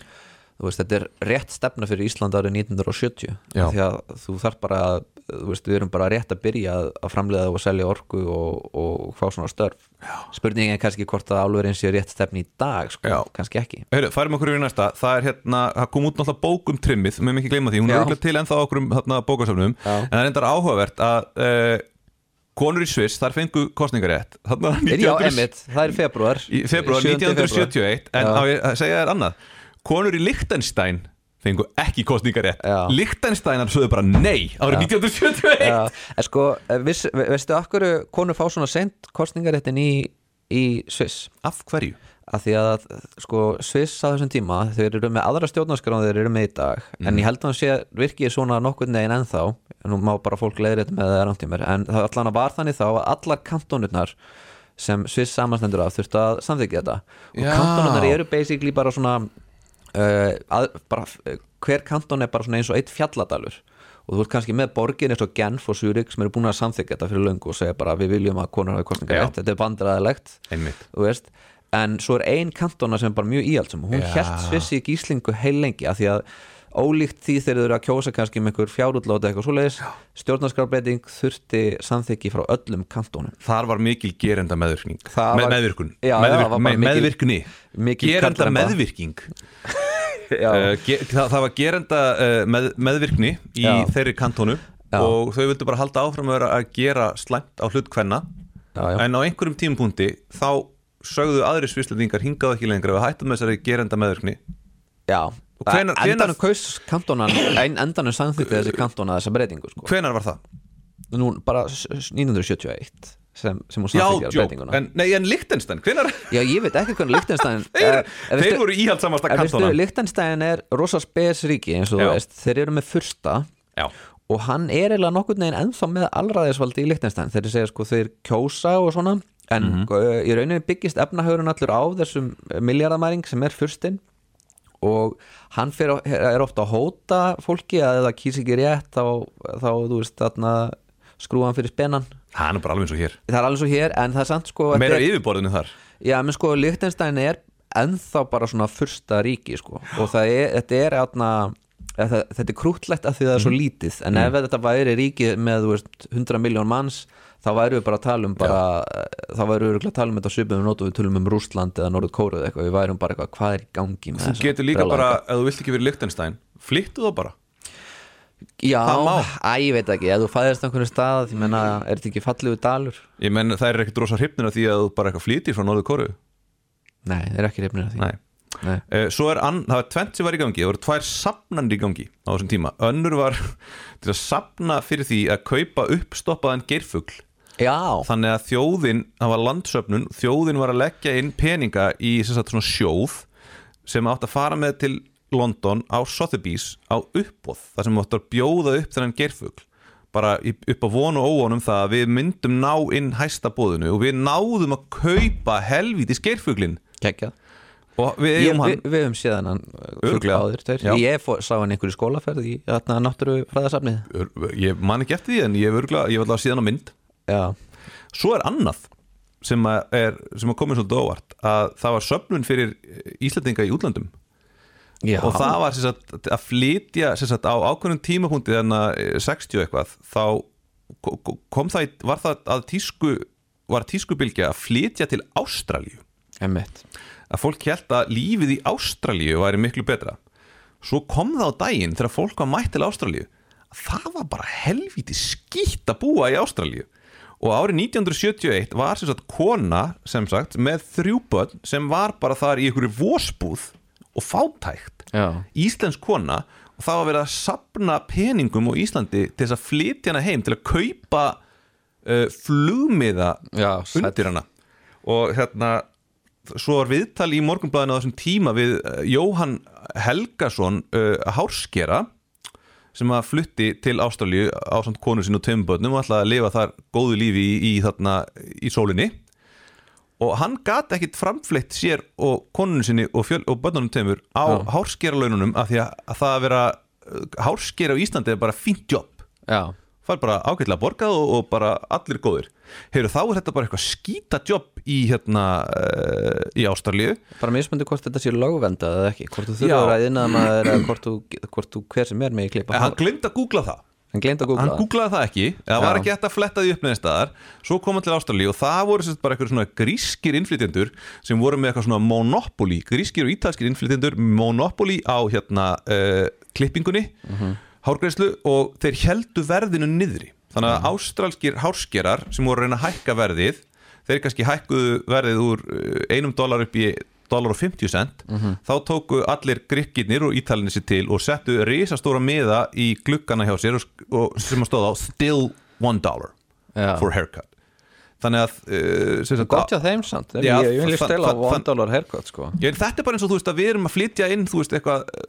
þú veist, þetta er rétt stefna fyrir Ísland árið 1970 Já. af því að þú þarf bara að þú veist, við erum bara rétt að byrja að- að framleiða og selja orku og, og fá svona störf já. spurningin er kannski hvort að álverinn sé rétt stefni í dag, sko, Já. kannski ekki Heyru, færum okkur yfir í næsta, það er hérna það kom út náttúrulega bók um trimmið, við með ekki gleyma því hún Já. er auðvitað til ennþá okkur um þarna bókasöfnum Já. en það er endar áhugavert að e, konur í Sviss, þar fengu kostningarétt þarna er já, 1900 emitt, það er februar í februar 1971 en á ég að segja þér annað konur í Lichtenstein fengu ekki kostningarétt Já. Lichtensteinar sögðu bara nei árið 1971 Já, en sko, viss, ve- veistu af hverju konur fá svona sent kostningaréttin í, í Sviss? af hverju? Af því að sko, Sviss á þessum tíma, þeir eru með aðra stjórnarskrán þeir eru með í dag, Mhm. en ég held að hann sé virkið svona nokkurn veginn ennþá nú má bara fólk leiðrétt með það rántímur en það allan að var þannig þá að allar kantónurnar sem Sviss samanstendur af þurftu að samþykja þetta og Já. kantónurnar eru basically bara svona uh, að, bara, uh, hver kanton er bara svona eins og eitt fjalladalur og þú ert kannski með borgin eins og Genf og Zurich sem eru búin að samþykja þetta fyrir löngu og segja bara við viljum að konur hafi kostninga Já. þetta er bandræðilegt Einmitt. þú veist en svo er ein kantona sem er bara mjög íhaldsum hún Já. hélt Svissi í gíslingu heil lengi af því að ólíkt því þeir eru að kjósa kannski með einhver fjárútláta eitthvað svoleiðis stjórnarskrarbreyting þurfti samþykki frá öllum kantónum þar var mikil gerenda meðvirkning Það Me, var- meðvirkun, Já, já, meðvirk, það var bara me, mikil- meðvirkni mikil gerenda karlremba. meðvirking Já. uh, ge, það, það var gerenda uh, með, meðvirkni í Já. þeirri kantónu Já. og þau vildu bara halda áfram að vera að gera slæmt á hlut hvenna Já, já. en á einhverjum tímpúndi þá sögðu aðri svislendingar hingað ekki lengra við hættum þessari gerenda meðvirkni Já, hvenær- hvenar, endanum hvenær- kaus kantónan en endanum samþykti þessi kantóna þessa breytingu sko. hvenar var það? Nú, bara s- s- 1971 sem, sem hún Já, samþykkir djók, breytinguna en, nei, en Lichtenstein, hvenær Já, ég veit ekki hvernig eh, Lichtenstein þeir, þeir voru íhaldsamasta kantona Lichtenstein er rosa spes ríki eins og Já. þú veist, þeir eru með fursta Já, og hann er eiginlega nokkurn veginn ennþá með allraðisvaldi í Lichtenstein þeir segja sko þeir kjósa og svona en mm í rauninni byggist efnahagurinn allur á þessum miljardamæring sem er fyrstinn og hann fer, á- er ofta að hóta fólki að ef það kýs ekki rétt þá, þá þú veist þarna skrúfa hann fyrir spennan hann er bara alveg eins og hér það er alveg svo hér en það er samt sko þetta Meira er- yfirborðinu þar Já, menn sko, Lichtenstein er ennþá bara svona fyrsta ríki sko. og það er, þetta er atna, þetta, þetta er krútlegt af því það er svo Mhm. lítið en ef þetta væri ríki með þú veist, 100 miljón manns þá væru við bara að tala um bara, þá væru við örugglega að tala um þetta svipum við notum við tölum um Rúsland eða Norður Kóru eða eitthvað, við værum bara eitthvað, hvað er í gangi með Þú þessa getur líka brjálæðinga?" bara, ef þú vilt ekki verið Lichtenstein Flyttu þá bara Já, það má. æ, ég veit ekki, ef þú fæðist á einhverju stað, ég menna, er þetta ekki fallegu dalur? Ég menn það er ekkert rosa hrifnir af því að þú bara eitthvað flýtir frá norðu kóru Nei, þeir eru ekki reyfnir af því Nei Nei. Eh, Svo er ann, það var tvent sem var í gangi, það voru tvær sapnandi í gangi á þessum tíma. Önnur var til að sapna fyrir því að kaupa uppstoppaðan geirfugl. Já, Þannig að þjóðin, það var landsöfnun, þjóðin var að leggja inn peninga í sem sagt, svona sjóð sem átt að fara með til London á Sotheby's á uppbóð, þar sem átt að bjóða upp þennan geirfugl. Bara í- upp á von og óvonum það að við myndum ná inn hæsta bóðinu og við náðum að kaupa helvítis geirfuglinn kekjað og við ég, eigum hann. við, við höfum séð hann Örugglega. áður tveir. Já. ég fó, sá hann í einhverju skólaferð í þarna náttúrufræðasafnið Ör- ég man ekki eftir því en ég hef örgulega, ég hef allavega síðan á mynd já, svo er annað sem að er, sem að komið svolítið óvart að það var söfnun fyrir Íslandinga í útlandum já. og það var sem sagt, að flytja sem sagt, á ákveðnum tímapunkti þannig að 60 eitthvað þá ko- ko- kom það, í- var það að tísku var tískubilgja að flytja til Ástralíu Einmitt. að fólk held að lífið í Ástralíu væri miklu betra svo kom það á daginn þegar fólk var mætt til Ástralíu að það var bara helvíti skýtt að búa í Ástralíu og árið 1971 var sem sagt kona sem sagt með þrjú börn sem var bara þar í einhverju vósbúð og fátækt Já. íslensk kona og það var verið að sapna peningum á Íslandi til þess að flytja hana heim til að kaupa uh, flugmiða Já, sæll. undir hana og hérna svo var viðtal í morgunblæðinu á þessum tíma við eh, Jóhann Helgason uh, hárskera sem að flutti til Ástralíu á samt konu sín og tömbötnum og ætlaði að lifa þar góðu lífi í, í, þarna, í sólinni og hann gat ekkit framfleytt sér og konunum sinni og, fjöl, og bönnunum tömur á Já. hárskera laununum af því að, að það að vera eh, hárskera á Íslandi er bara fínt jobb já, fær bara ágætlega borgað og, og bara allir góðir Heyru, þá er þetta bara eitthvað skítajobb í hérna uh, í Ástralíu bara mismöndi hvort þetta sé lögvendað eða ekki hvort þú Já. þurfur að innað maður eða hvort þú, hvort þú hver sem er með í klippa en hann glemd að googla það hann glemt hann að googla það. googlaði það ekki, eða var Já. ekki hægt að fletta því upp neðin staðar, svo kom hann til Ástralíu og það voru sérst bara eitthvað svona grískir innflytjendur sem voru með eitthvað svona monopoly grískir og ítalskir innflytjendur monopoly á hérna uh, klippingunni Mhm. hárgreislu og þeir heldu verðinu niðri þannig Mhm. að ástralskir hárskerar sem voru að reyna að hækka verðið þeir kannski hækkuðu verðið úr eh, einum dólar upp í dólar og 50 cent Mhm. þá tóku allir grikkirnir og ítalinni sér til og settu risastóra miða í gluggana hjá sér og, og sem að stóða á still one dollar Já. for haircut þannig að uh, sem sagt, gott hjá þeim samt Þeir- Já, ég, ég vil þann- stela á þann- one dollar haircut sko. Já, en þetta er bara eins og þú veist að við erum að flytja inn þú veist eitthvað eh,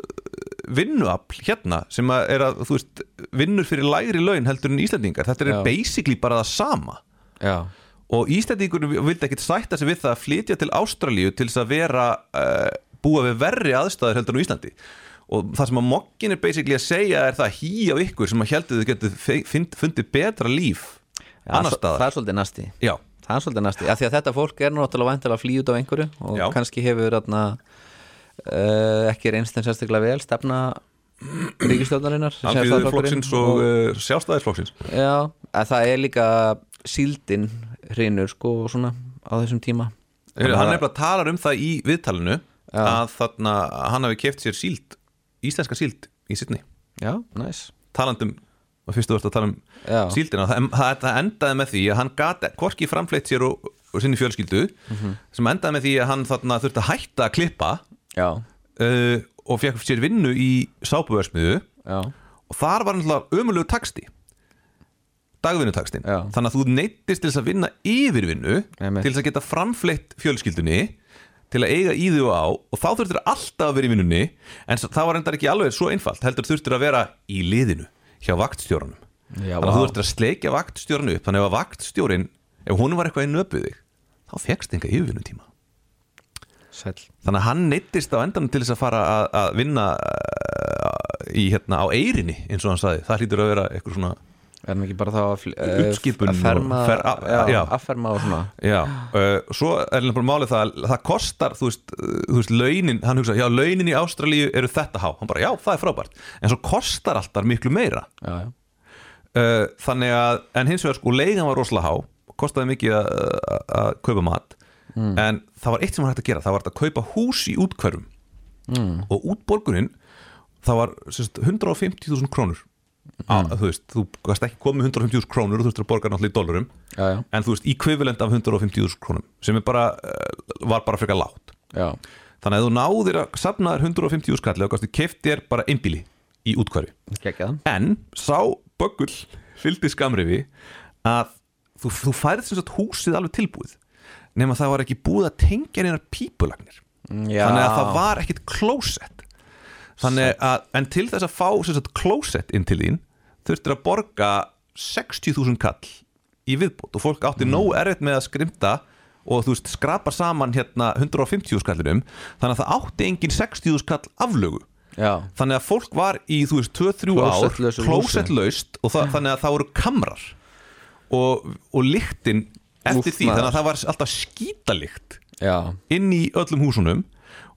vinnuafl hérna sem að er að þú veist vinnur fyrir lægri laun heldur en Íslandingar þetta er Já. basically bara það sama já, og Íslandingur vildi ekkit sætta sig við það að flytja til Ástralíu til þess að vera uh, búa við verri aðstæður heldur en á Íslandi og það sem að mokkin er basically að segja er það hí á ykkur sem að heldur þið getur fe- fund- fundið betra líf já annar svo- það staðar er svolítið næsti Já, það er svolítið næsti, af því að þetta fólk er nú náttúrulega væntalega að flýja út af einhverju og Já. kannski hefur atna, uh, ekki reynst þeim sérstaklega vel stefna ríkistjóðarinnar alþjóðflokksins um og uh, sjálfstæðisflokksins já, að það er líka síldin hrinur sko og svona á þessum tíma Heyrðu, hann nefnilega talar um það í viðtalinu að þarna hann hafi keft sér síld íslenska síld í sittni já, næs talandum um, og fyrst þú vart að tala um Já. síldina það, það, það endaði með því að hann gat hvorki framfleytt sér og, og sinni fjölskyldu sem endaði með því að hann þarna þurfti að hætta að klippa já, uh, og fekk sér vinnu í sápuversmiðu já, og þar var náttúrulega ömulegu taksti dagvinnutakstin Já. þannig að þú neittist til þess að vinna yfirvinnu Einmitt. til þess að geta framfleitt fjölskyldunni til að eiga í því og á og þá þurftur alltaf að vera í vinnunni en s- það var endar ekki alveg svo einfalt heldur þurftur að vera í liðinu hjá vaktstjóranum Já, þannig að þú vá. þurftur að sleikja vaktstjóran upp þannig að ef að vaktstjórin, ef hún var eitthvað í nöpuði þá fegst enga yfirvinnutíma Sæll þannig að hann neittist á endanum til þess að fara að, að vinna eh, í hérna á eirinni eins og hann sagði, það hlýtur að vera eitthvað svona Er hann ekki bara þá að fl- eh, Uppskipun að ferma, og fer- a- já, já. afferma og svona já, uh, svo er hann bara málið það að það kostar, þú veist, uh, þú veist launin, hann hugsa, já, launin í Ástralíu eru þetta há, hann bara, já, það er frábært en svo kostar alltaf miklu meira já, já. uh, þannig að, en hins vegar sko, leigan var rosalega há kostaði mikið að, að, að kaupa mat en það var eitt sem var hægt að gera það var hægt að kaupa hús í útkverfum mm. og útborgunin það var sem sagt, 150.000 krónur mm. þú veist, þú gast ekki komið með 150.000 krónur og þú þurftur að borga náttúrulega í dollurum Já, já. en þú veist, ekvivalent af 150.000 krónum sem er bara, uh, var bara frekar lágt Já. þannig að ef þú náðir að safna þér 150.000 kalli og gastu kefti þér bara einbíli í útkverfi Gekkjaðan en sá böggul fylgdi skamrifi að þú, þú færið sem sagt húsið alveg tilbúið nema það var ekki búið að tengja neinar pípulagnir Já. þannig að það var ekkit klósett þannig að, en til þess að fá sem sagt klósett inn til þín þurftir að borga 60.000 kall í viðbót og fólk átti nóg erfitt með að skrimta og þú veist skrapa saman hérna 150 skallinum um, þannig að það átti engin 60.000 skall aflögu Já. þannig að fólk var í þú veist 2-3 ár Klósettlausu húsi. klósettlaust og það, þannig að það voru kamrar og, og lyktin eftir Úff, því, maður. þannig að það var alltaf skítalikt Já, inn í öllum húsunum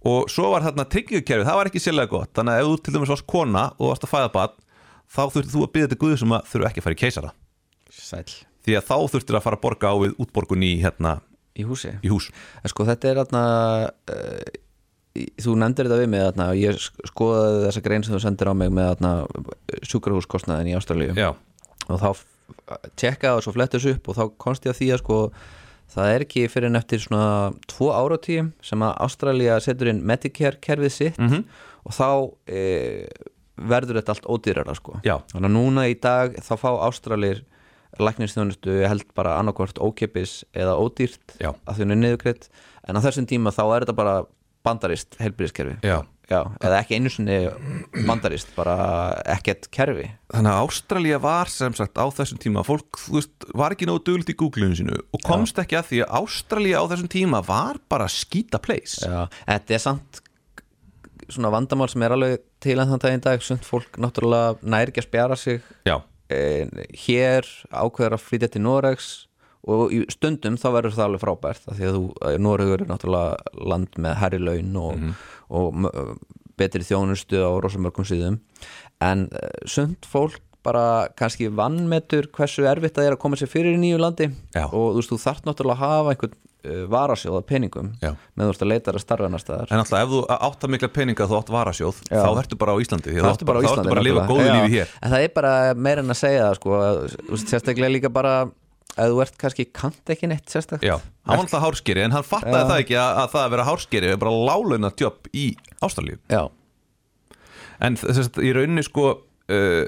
og svo var þarna tryggingakerfið, það var ekki sérlega gott þannig að ef þú til dæmis varst kona og varst að fæða barn þá þurftir þú að byggja þetta guðu sem um að þurfa ekki að fara í keisara sæll því að þá þurftir að fara að borga á við útborgun í, hérna, Í húsi í hús En sko þetta er þarna uh, í- Þú nefndir þetta við mig þarna og ég sk- skoðaði þessa grein sem þú sendir á mig með þarna sjúkrahúskostnaðin í Ástralíu Já. og þá f- tjekkaði og svo flettis upp og þá komst ég að því að sko það er ekki fyrir en eftir svona tvo áratíum sem að Ástralía setur inn Medicare kerfið sitt Mhm. og þá e, verður þetta allt ódýrara sko Já. þannig að núna í dag þá fá Ástralir læknisþjónustu ég held bara annarkvort ókipis eða ódýrt Já. að því hún er niðurgreitt en á þessum tíma þá er þetta bara bandarist helbriðiskerfi Já. eða ekki einu sinni bandarist bara ekkert kerfi þannig að Ástralía var sem sagt á þessum tíma fólk þú veist, var ekki nógu duglut í Google-inu sínu og komst ekki að því að Ástralía á þessum tíma var bara skýta place Já, en þetta er samt svona vandamál sem er alveg til en þann dag í dag sumt fólk náttúrulega nær ekki að spjara sig Já. eh, hér ákveður að flytja til Noregs og í stundum þá verður það alveg frábært af því að þú, eh, Noregur er náttúrulega land með herri laun og, Mhm. og, mö- betri þjónustu á rosamörgum síðum en eh, sumt fólk bara kannski vannmetur hversu erfitt það er að koma sér fyrir í nýju landi Já. og þú veist þú þarft náttúrulega að hafa einhvern uh, varasjóða peningum Já. með þú ert að leita að starfa annar staðar en alltaf ef þú átt að mikla peninga þú átt varasjóð, Já. þá ertu bara á Íslandi því að Þá ertu bara á þá Íslandi ertu bara að lifa góðu náttúrulega. lífi Já, hér En það er bara meira en að segja það sko, að, þú veist, Sérstaklega líka bara að þú ert kannski kant ekki neitt sérstakt Já, hann var alltaf hárskeri en hann fattaði það ekki að, að það að vera hárskeri er bara lálauna tjöpp í Ástralíu Já, en þess að í rauninni sko uh,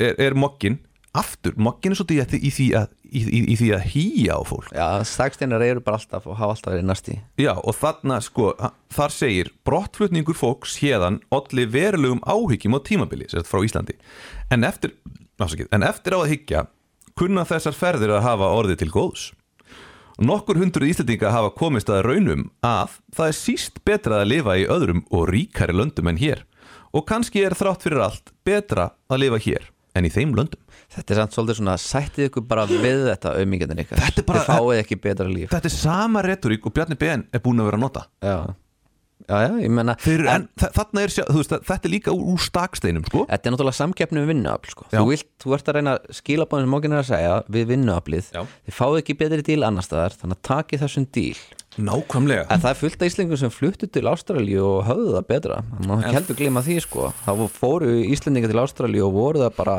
er, er mokkin aftur, mokkin er svolítið í því- í því að, í, í, í því að hýja á fólk já sagsteinar eru bara alltaf og hafa alltaf verið næsti Já, og þarna sko, þar segir brottflutningur fólks hérðan olli verulegum áhyggjum á tímabili sérst frá Íslandi en eftir, afsakið, en eftir á að hyggja kunna þessar ferðir að hafa orðið til góðs Nokkur hundruð Íslandinga hafa komist að raunum að það er síst betra að lifa í öðrum og ríkari löndum en hér og kannski er þrátt fyrir allt betra að lifa hér en í þeim löndum Þetta er samt svolítið svona, sættið ykkur bara við þetta auðmingjandinn ykkar Þetta er bara- Þið fáið ekki betra líf Þetta er sama retorík og Bjarni BN er búin að vera að nota Já, já, já ég menna Þeir, en, en þarna er, sjá- þú veist, þetta er líka úr, úr staksteinum sko. Þetta er náttúrulega samkeppni við vinnuafl sko. Já. þú, vilt, þú ert að reyna skilabóðin sem mokkin er að segja við vinnuaflið Já. Þið fáið ekki betri díl annars staðar þannig að taki þessum díl Nákvæmlega En það er fullt af Íslendingum sem fluttu til Ástralíu og höfðu það betra Þannig að ekki heldur glima því sko Það fóru Íslendingar til Ástralíu og voru það bara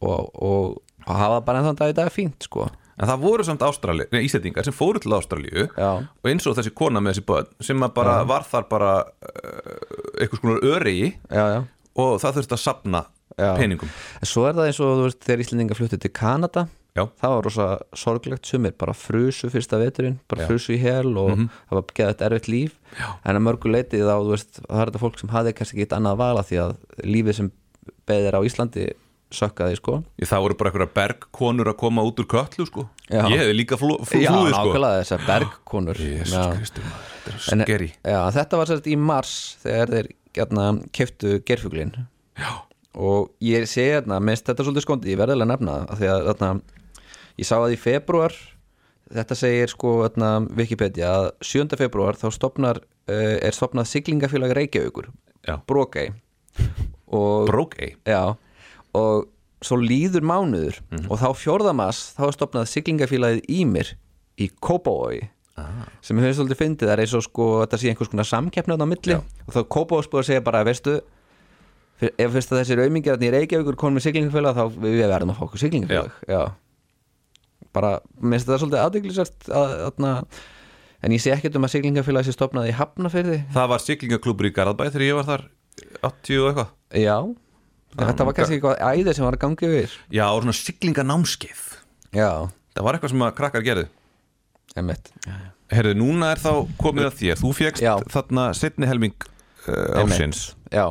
og, og, og hafa það bara ennþann dag í dag fínt sko En það voru samt Ástrali, nei, Íslandingar sem fóru til Ástralíu Já. og eins og þessi kona með þessi börn sem að bara var þar bara uh, einhvers konar öregi Já, já og það þurfti að sapna Já. peningum En svo er það eins og þú veist þegar Íslendingar fluttu til Kanada Já. það var rosa sorglegt sumir bara frusu fyrsta veturinn, bara Já. frusu í hel og það var geðað erfitt líf Mhm. Já. en að mörgu leiti þá, þú veist, það er þetta fólk sem hafði kannski ekki eitt annað vala því að lífið sem beðir á Íslandi sökkaði sko Ég, það voru bara einhverja bergkonur að koma út úr köllu sko. Já. ég hefði líka flú, flú, Já, flúið sko. nákvæmlega þessar bergkonur Jesus Já. Kristi, maður, þetta er En- svo skeri Já, þetta var sérst í mars þegar þeir hérna, keftu gerfuglin Já. og ég segi hérna, minnst þetta er svolítið skondið, ég verðilega nefna það af því að hérna, ég sá að í februar þetta segir sko hérna, Wikipedia að 7. februar þá stopnar, uh, er stopnað siglingafélag Reykjavíkur, Já. Brokei og Brókei Já, og svo líður mánuður og þá fjórðamass þá er stopnað siglingafélagið Ímir í Kópavói sem hefur svolítið fyndið, það er eins og sko þetta sé einhvers konar samkeppni þarna á milli og þá Kópavói spúið að segja bara, veistu fyr, ef fyrst að þessir auðmingjarnir í Reykjavíkur konum í siglingafélag þá við við verðum að fá okkur siglingafélag Já, bara, minnst þetta svolítið aðdeglisert að, að, en ég sé ekkert um að siglingafélag sé stopnað í Hafnafyrði það var siglingaklúbur í Garðabæ þegar ég var þar 80 og eitthvað Já, þetta var kannski eitthvað æðið sem var að gangi yfir já, og svona siglinganámskeið Já, það var eitthvað sem að krakkar gerðu Einmitt. Herðu, núna er þá komið að þér þú fegst Já. þarna setni helming uh, Einmitt. ásins Já,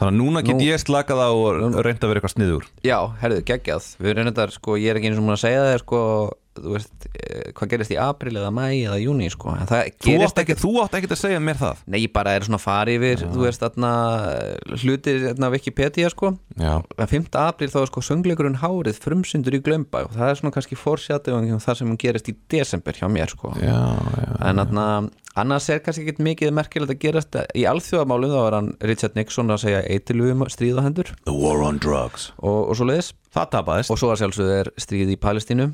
þannig að núna get Nú- ég slakað á og reynd að vera eitthvað sniður já, herðu, geggjað Við erum þetta, sko, ég er ekki eins og múin að segja það sko, þú veist, eh, hvað gerist í april eða mæ eða júni, sko en það þú gerist átt, ekki, þú átt ekki að segja mér það Nei, ég bara er svona að fara yfir, þú veist, þarna eh, hlutir, þarna Wikipedia, sko já, En 5. april þá er sko söngleikurinn Hárið frumsyndur í Glömbæ og það er svona kannski fórsjáttið um það sem hún gerist í desember hjá mér, sko já, já en þarna, annars er kannski ekkit mikið merkilegt að gerast í alþjóðamálum þá var hann Richard Nixon að segja eitilugum stríð á hendur the war on drugs og, og svo leiðis það tapaðist, og svo að sjálfsögðu er stríð í Palestínu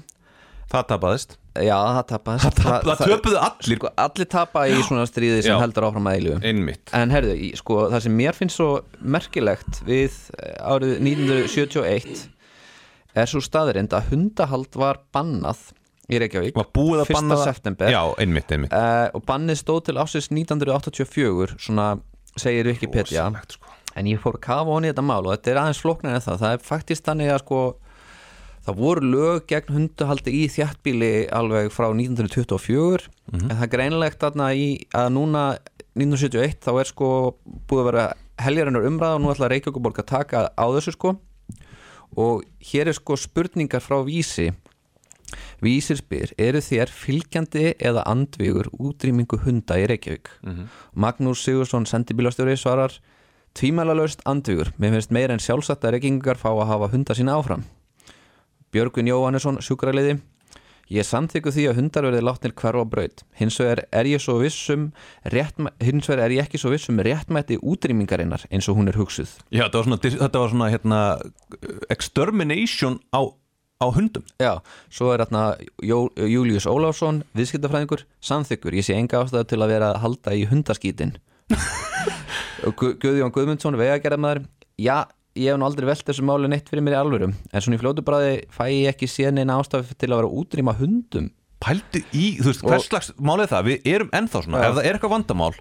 það tapaðist já, það tapast það, það, töpuðu allir sko, allir tapa í svona stríði sem Já. heldur áfram að eilu einmitt en herðu, í- sko, það sem mér finnst svo merkilegt við eh, árið 1971 er svo staðirind að hundahald var bannað í Reykjavík var búið að 1. banna það- september já, einmitt, einmitt Eh, og bannið stóð til ásins 1984 svona segir Wikipedia sko. en ég fór að kafa honi í þetta mál og þetta er aðeins flóknar en það það er faktist þannig að sko það voru lög gegn hunduhaldi í þjættbíli alveg frá 1924 en það er greinlegt þarna í að núna 1971 þá er sko búið að vera heljarinnar umræða og nú ætla Reykjavíkuborg að taka á þessu sko og hér er sko spurningar frá vísi Vísir spyr, eru þér fylgjandi eða andvígur útrýmingu hunda í Reykjavík? Magnús Sigursson sendibílastjóri svarar Tvímælalaust andvígur, mér finnst meira en sjálfsagt að reykingar fá að hafa hunda sína áfram Björgun Jóhannesson, sjúkraliði Ég samþykku því að hundar verði látnir hverfa á braut hins vegar er ég svo vissum réttmæ... hins vegar er ég ekki svo vissum réttmætti útrýmingarinnar eins og hún er hugsuð já, þetta var svona, þetta var svona hérna, extermination á, á hundum Já, svo er þarna Jó- Július Ólafsson, viðskiptafræðingur samþykkur, ég sé enga ástæðu til að vera að halda í hundaskítin Og Gu Guðjón Guðmundsson, vegagerðamaður Já, ég hef nú aldrei velt þessu máli neitt fyrir mér í alvöru, en svona í fljótu bræði fæ ég ekki séð neina ástæðu til að vera að útrýma hundum pældu í, þú veist, hvers slags málið er það við erum ennþá svona, ef það er eitthvað vandamál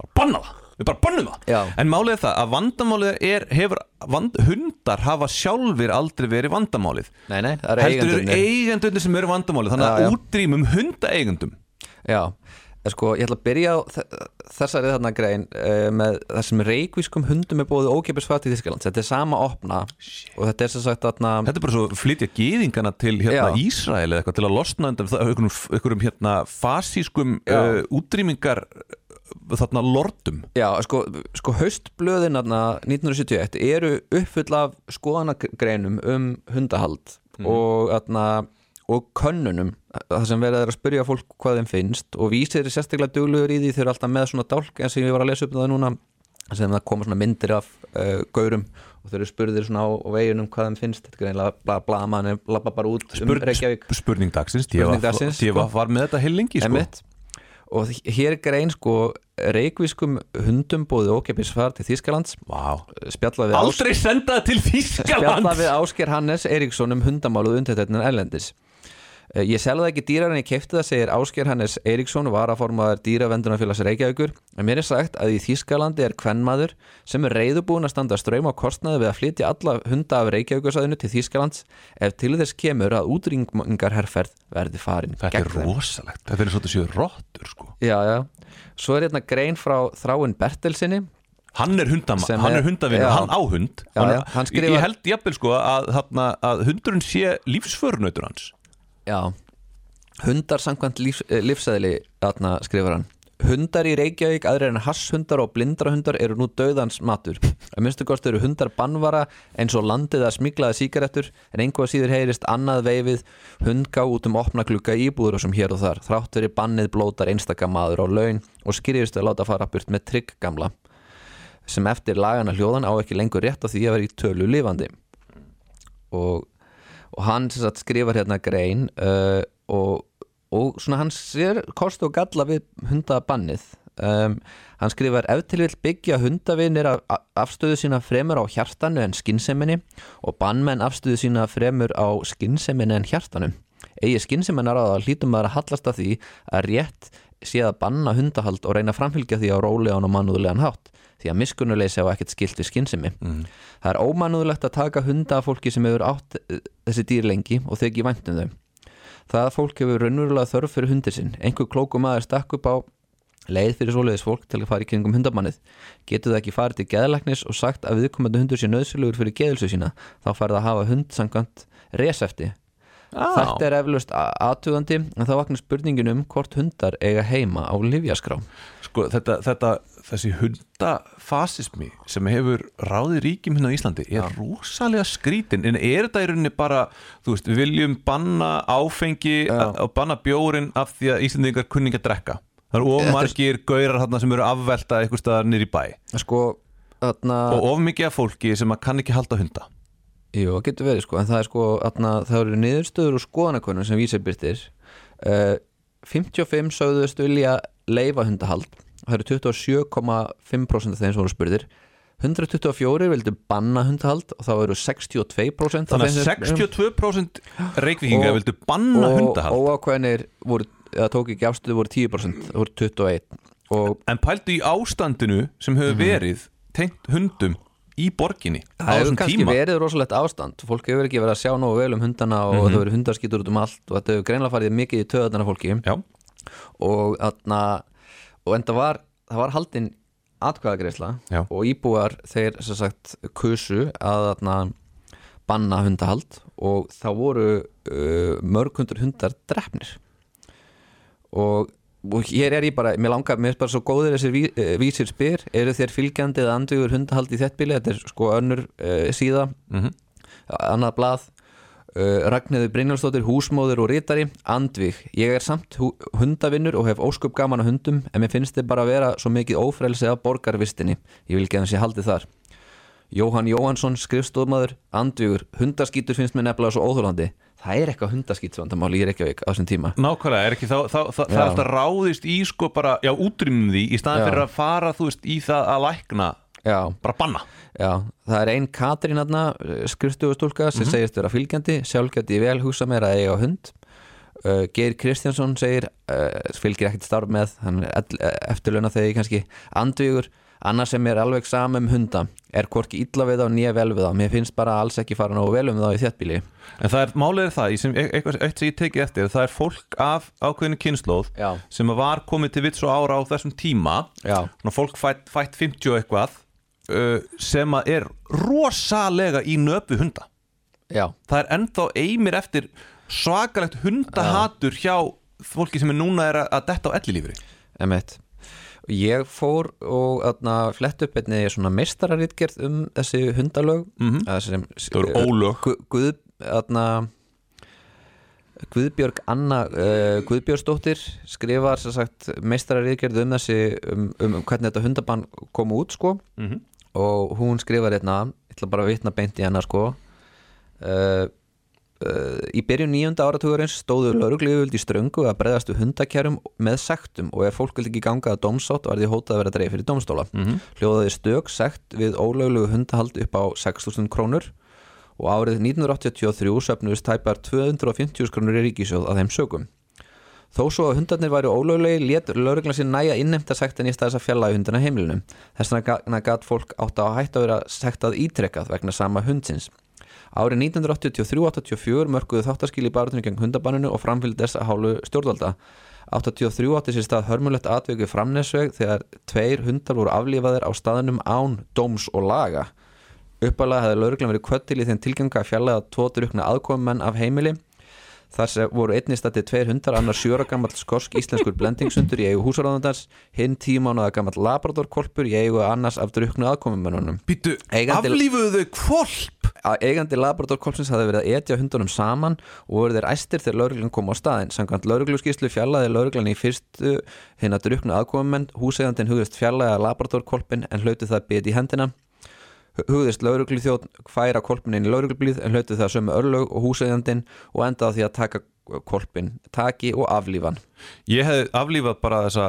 bara banna það, við bara bannum það Já. en málið er það að vandamálið er hefur, vand, hundar hafa sjálfir aldrei verið vandamálið Nei, nei, það eru heldur eru eigendurnir. eigendunir sem eru vandamálið þannig Já, já. að útrýmum hundaeigendum Já, en sko ég ætla að byrja á þe- þessari þarna grein uh, með það sem reykvískum hundum er búið ókipis fætt í Þískaland, þetta er sama opna og þetta er sem sagt þarna þetta er bara svo að flytja gýðingana til Já. hérna, Ísrael eða eitthvað til að losna undan það- einhverjum, einhverjum hérna fasískum uh, útrýmingar uh, þarna lordum Já, sko, sko haustblöðin þarna 1971 eru uppfull af skoðanagreinum um hundahald og, þarna, og könnunum það sem verið er að spyrja fólk hvað þeim finnst og vísir er sérstaklega duglugur í því þau eru alltaf með svona dálk eins og ég var að lesa upp um það núna sem það koma svona myndir af uh, gaurum og þau eru spurðir svona á, á veginum hvað þeim finnst þetta er greinlega bla bla mann labba bara út um Reykjavík sp- spurning dagsins, ég Spurning dagsins, var, sko. var með þetta heil lengi sko. Einmitt. og þ- hér er grein sko reykviskum hundum bóði ókepis far til Þýskalands Vá. spjalla við Ás- Aldrei senda það til spjalla Þýskaland við Ásker Hannes Eriksson um hundamáluð undirtegnin erlendis Eh, Ég selði það ekki dýrar en ég kefti það segir Ásker Hannes Eiríksson varaformaðar dýravendunarfélags Reykjavíkur en mér er sagt að í Þýskalandi er kvennmaður sem er reyðubúin að standa ströym á kostnaði við að flytja alla hunda af Reykjavíkursaðinu til Þýskalands ef til þess kemur að útrýmingarherferð verði farin Þetta er rosalegt, þetta er svolítið séu rottur sko Já, já, svo er hérna grein frá þráin Bertelsinni Hann er, hundam, Sem hann er- er hundavinnur, já. hann á hund Já, hann, já, hann ég- skrifar- Ég held jafnvel sko að, þarna, að hundurinn sé lífsförunautur hans Já Hundar samkvæmt líf, lífsæðli þarna skrifar hann Hundar í Reykjavík, aðrir en hasshundar og blindrahundar eru nú döðans matur að minnstu kost eru hundar bannvara eins og landið að smiklaða sígarettur en einhvað síður heyrist annað veifið hundgá út um opna glugga íbúður og sem hér og þar, þrátt verið bannið blótar einstaka maður á laun og skrifist að láta fara burt með trygg gamla sem eftir lagana hljóðan á ekki lengur rétt á því að vera í tölu lifandi og, og hann sem sagt, skrifar hérna grein uh, og, og svona hann sér kost og galla við hundabannið um, hann skrifar ef til vill byggja hundavinir af, af- afstöðu sína fremur á hjartanu en skinseminni og bannmenn afstöðu sína fremur á skinseminni en hjartanu eigi skinseminnar að það hlýtum maður að hallast að því að rétt sé að banna hundahald og reyna að framfylgja því á rólegan og mannúðulegan hátt því að miskunnuleysi á ekkert skilt við skynsemi það er ómannúðulegt að taka hunda af fólki sem hefur átt eh, þessi dýr lengi og þegi væntum þau það að fólk hefur raunverulega þörf fyrir hundir sinn einhver klóku maður stakk upp á leið fyrir svoleiðis fólk til að fara í kringum hundamannið getur það ekki farið til geðlæknis og sagt að viðkomandi hundur sé nöðsynlegur fyrir geðilsu sína þá færð að hafa hund samkvæmt resefti Þetta er eflaust aðtugandi en þá vaknar spurningin um hvort hundar eiga heima á livjaskrá sko, þetta, þetta, þessi hundafasismi sem hefur ráðið ríkjum hérna á Íslandi er rosalega skrítin en er þetta í rauninni bara, þú veist, við viljum banna áfengi að- og banna bjórin af því að Íslandingar kunninga að drekka það eru of margir gaurar þarna sem eru afvelta eitthvað staðar nýri bæ Sko, þarna og of mikið af fólki sem að kann ekki halda hunda Jú, það getur verið sko, en það er sko atna, það eru niðurstöður og skoðanakonum sem vísir byrtir uh, 55 sögðust vilja leifa hundahald það eru 27,5% af þeim sem voru spurðir 124 vildu banna hundahald og þá eru 62% af þannig þeim að sem- 62% reikvikingar Og- vildu banna hundahald og óákveðinir voru, eða tók ekki afstöðu voru 10% voru 21 og en pældu í ástandinu sem hefur verið tengt hundum í borginni á Mhm. það hefur þessum kannski tíma verið rosalegt ástand fólk hefur ekki verið að sjá nógu vel um hundana Mhm. og það hefur hundarskítur út um allt og þetta hefur greinlega farið mikið í töðarnar fólki Já, og, atna, og enda var það var haldin atkvæðagreisla Já. og íbúar þeir sem sagt kusu að atna, banna hundahald og þá voru uh, mörg hundur hundar drefnir og, og hér er ég bara, mér langar, mér er bara svo góður þessir ví, eh, vísir spyr, eru þér fylgjandi eða andvígur hundahald í þett bíli, þetta er sko önnur uh, síða annað blað uh, Ragnheður Brynjálfsdóttir, húsmóður og rítari Andvíg, ég er samt hú- hundavinnur og hef ósköp gaman á hundum en mér finnst þið bara að vera svo mikið ófrælse af borgarvistinni, ég vil ekki að hans ég haldi þar Jóhann Jóhansson, skrifstofmaður, andvígur, hundaskítur finnst mér nefnilega svo óþólandi Það er eitthvað hundaskítsvandamál í Reykjavík á þessum tíma nákvæmlega, er ekki þá, þá, þá það er Já. alltaf ráðist í sko bara, já, útrýmum því í staðan Já. fyrir að fara, þú veist, í það að lækna Já, bara banna Já, það er ein Katrín aðna skrifstofustúlka sem segist vera fylgjandi sjálf geti ég vel hugsa mér að eiga hund uh, Geir Kristjánsson segir uh, fylgir ekkert starf með hann er ell- eh, eftirlauna þegar ég kannski andvígur, annars sem er alveg sama um hunda er hvorki illa við þá nýja vel við þá mér finnst bara alls ekki fara nógu vel um þá í þéttbíli en það er, málið er það, í sem, e- eitthvað, eitt sem ég tekið eftir það er fólk af ákveðinu kynnslóð Já. sem að var komið til vits og ára á þessum tíma Já. Svona fólk fætt, fætt 50 og eitthvað uh, sem að er rosalega í nöpu hunda Já, það er ennþá eimir eftir svakalegt hundahatur hjá fólki sem er núna er að, að detta á ellilífri emitt Ég fór og atna, flett upp einni svona meistararítgerð um þessi hundalög Mhm. mm -hmm. Það eru ólög. Gu, Guð, atna, Guðbjörg Anna uh, Guðbjörgsdóttir skrifar sem sagt, meistararítgerð um þessi um, um, um hvernig þetta hundabann kom út sko. -hmm. og hún skrifar einna ég ætla bara að vitna beint í hennar sko uh, Uh, í byrjun nýjunda áratugurins stóðu laurugljöfuld í ströngu að breyðast við hundakjærum með sektum og ef fólk vildi ekki ganga að domsátt var því hótað að vera dreif fyrir domstóla. Hljóðaði stök sekt við ólöglegu hundahald upp á 6.000 krónur og árið 1983 söfnuðist tæpar 250 krónur í ríkisjóð að þeim sögum. Þó svo að hundarnir væri ólöglegi létt lögreglan sér næja innheimta sektin í staðis að fjalla í hundana heimilinu. Þess vegna gæt fólk átt á að hætta að vera sektað ítrekkað vegna sama hundsins. Árið 1983-84 mörguðu þáttaskil í barutunni geng hundabanninu og framfylgdi þess að hálfu stjórnvalda. 83 átti sér stað hörmulegt atveiku framnesveg þegar tveir hundar voru aflífaðir á staðinum án, dóms og laga. Uppalega hefði lauruglan verið kvöttil í þeim tilganga að fjallaða tvo drukna aðkomumenn af heimili þar sem voru einnig stætti tveir hundar annar sjóra gammal skorsk íslenskur blendingshundur í eigu húsaráðandans, hinn tímánaða gammal labradorkolpur í eigu annars af drukna aðkomumennunum. Býtu, Eigandi- aflífuðu þau kvolp að eigandi laboratorkolpsins hafði verið að etja hundunum saman og voru þeir æstir þegar lauruglan kom á staðin samkvæmt laurugluskíslu fjallaði lauruglan í fyrstu hinn að drukna aðkomumenn húsegandin hugðist fjallaði að laboratorkolpin en hlauti það bit í hendina hugðist lauruglu þjótt færa kolpin inn í lauruglublíð en hlauti það sömu örlög og húsegandin og endaði á því að taka kolpin taki og aflífan Ég hefði aflífað bara þessa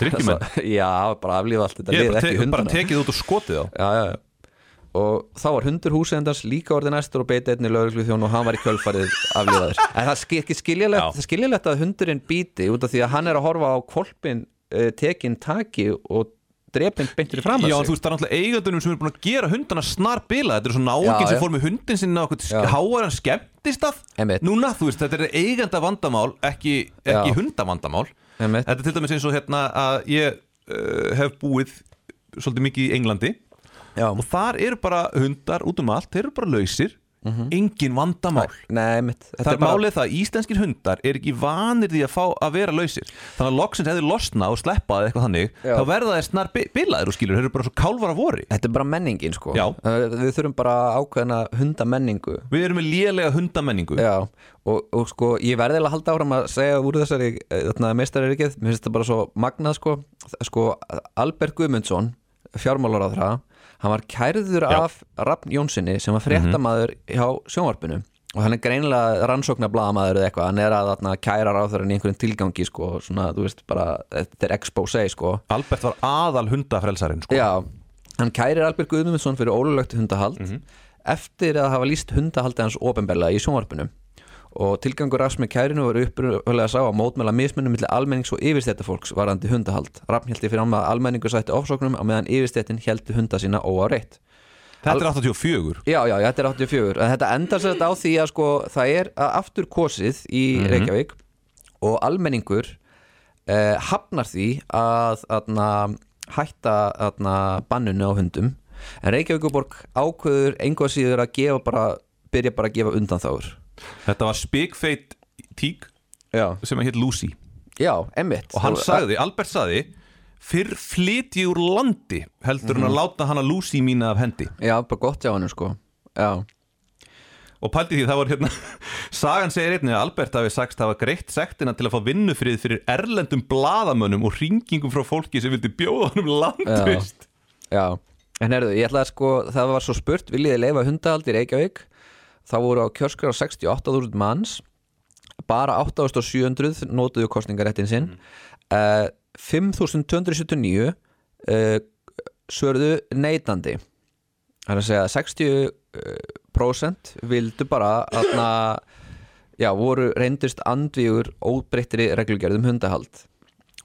drikkjumenn já, bara aflífa allt þetta Ég hefði lið bara, ekki te bara hundana tekið út og skotið á já, já, já og þá var hundur húsendans líka orðið næstur og beiti einni lögreglu þjón og hann var í kjölfarið aflífaður en það er ski- ekki skiljalegt, Já. það er skiljalegt að hundurinn býti út af því að hann er að horfa á kolpin uh, tekin taki og drepin beintur í fram að Já, en sig þú veist, það er náttúrulega eigandunum sem er búin að gera hundana snar bila Þetta er svona Já, náungin já. sem fór með hundin sinna Já. okkur háaran skemmtist af Einmitt. Núna, þú veist, þetta er eiganda vandamál, ekki, ekki Já. hundavandamál Einmitt. Þetta er til dæmis eins og hérna að ég uh, hef búið svolítið mikið í Englandi já, Og þar eru bara hundar út um allt, þeir eru bara lausir Mhm. Engin vandamál nei, mitt Það er málið það að íslenskir hundar er ekki vanir því að fá að vera lausir Þannig að loksins hefði losna og sleppaði eitthvað þannig Já. Þá verða þeir snar bi- bilaðir og skilur, þeir eru bara svo kálvar að vori þetta er bara menningin sko Já. Eh, við þurfum bara ákveðina hundamenningu Við erum með lélega hundamenningu Já, og, og sko, ég verði eiginlega að halda áfram að segja úr þessari eh, þarna, meistararíkið, mér finnst þetta bara svo magnað sko, sko Albert Guðmundsson fjármálaráðra hann var kærður Já. af Rafn Jónssoni sem var fréttamaður hjá sjónvarpinu og hann er greinilega rannsóknar blaðamaður eða eitthvað, hann er að þarna, kæra ráðurinn í einhverjum tilgangi sko, og svona, þú veist bara, þetta er expose sko Albert var aðal hundafrelsarinn sko. Já, hann kærir Albert Guðmundsson fyrir ólulegt hundahald eftir að hafa líst hundahaldi hans ofinberlega í sjónvarpinu og tilgangur Raps með kærinu var uppröðlega sá að mótmæla mismunum millir almennings og yfirstætti fólks varandi hundahald. Raps heldur fyrir hann að almenningu sætti ofsóknum á meðan yfirstættin heldur hunda sína óáreitt. Þetta er 84 Já, já, já, þetta er 84 en þetta endar sér þetta á því að sko það er að aftur kosið í Mhm. Reykjavík og almenningur eh, hafnar því að atna, hætta atna, banninu á hundum en Reykjavíkuborg ákveður einhvað síður að gefa bara byrja bara að gefa undanþáur Þetta var spikfeit tík Já, sem hétt Lucy já emmitt Og hann sagði, Albert sagði Fyrr flyt ég úr landi heldur Mhm. hann að láta hana Lucy mína af hendi Já, bara gott hjá hann sko Já, Og pældi því það var hérna Sagan segir einnig að Albert hafi sagst hafa greitt sektina til að fá vinnufrið fyrir erlendum bladamönnum og ringingum frá fólki sem vildi bjóða honum landvist Já, en herðu, ég ætla að sko það var svo spurt, viljiði leifa hundahald í Reykjavík þá voru á kjörskar 68.000 manns bara 8.700 notuðu kostningaréttin sinn mm. 5.279 uh, svörðu neitandi það er að segja 60% vildu bara aðna, já, voru reyndist andvígur óbreyttri reglugerðum hundahald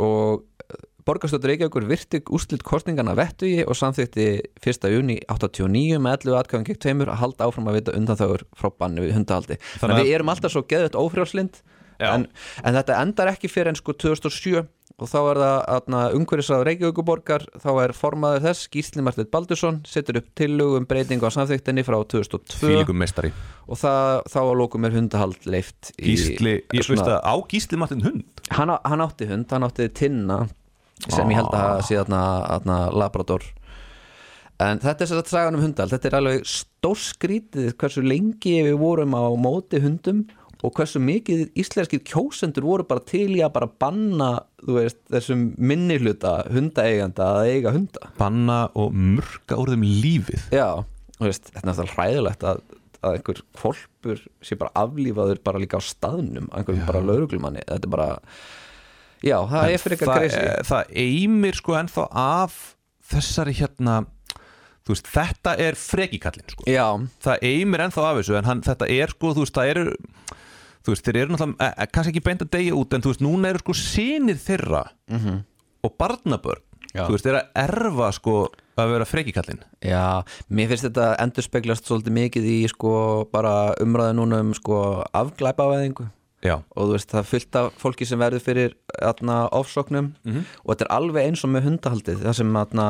og eh, borgarstjórn Reykjavíkur virti úrslit kostningana vettugi og samþykti 1. júni 89 með 11 atkvæðum gegn tveimur að halda áfram að vita undan þaður frá banni við hundahaldi þannig að- að við erum alltaf svo geðvett ófrjálslind Já. en, en þetta endar ekki fyrir en sko 2007 og þá er það umhverfisrað Reykjavíkuborgar, þá er formaður þess Gísli Marteit Baldursson, setur upp tillögu um breytingu á samþyktinni frá 2002 Fílíkum meistari og það, þá að lókum er hundahald leift í- Gísli, ég svona- veist að á Gísli Martin hund hann, á- hann átti hund, hann átti tinna sem ég held að sé þarna, þarna labrador en þetta er sér að sagan um hundal þetta er alveg stórskrítið hversu lengi við vorum á móti hundum og hversu mikið íslenskir kjósendur voru bara til í að bara banna þú veist, þessum minnihluta hundaeiganda að eiga hunda Banna og mörka úr þeim lífið Já, þú veist, þetta er náttúrulega hræðilegt að, að einhver kvolpur sé bara aflífaður bara líka á staðnum að einhverjum bara lauruglumanni, þetta er bara Já, það er fyrir eh, eitthvað það, greisi eh, það eimir sko ennþá af þessari hérna þú þú veist, þetta er frekikallin sko. Já, það eimir ennþá af þessu en hann, þetta er sko, þú veist, það eru þú veist, þeir eru náttúrulega, eh, eh, kannski ekki beint að deyja út en þú veist, núna eru sko sinir þeirra -hmm. og barnabörn Já. þú veist, þeir eru að erfa sko að vera frekikallin Já, mér finnst þetta endurspeglast svolítið mikið í sko bara umræðu núna um sko afglæpavæðingu já, og þú veist það er fullt af fólki sem verður fyrir atna, ofsóknum Mhm. og þetta er alveg eins og með hundahaldið það sem atna,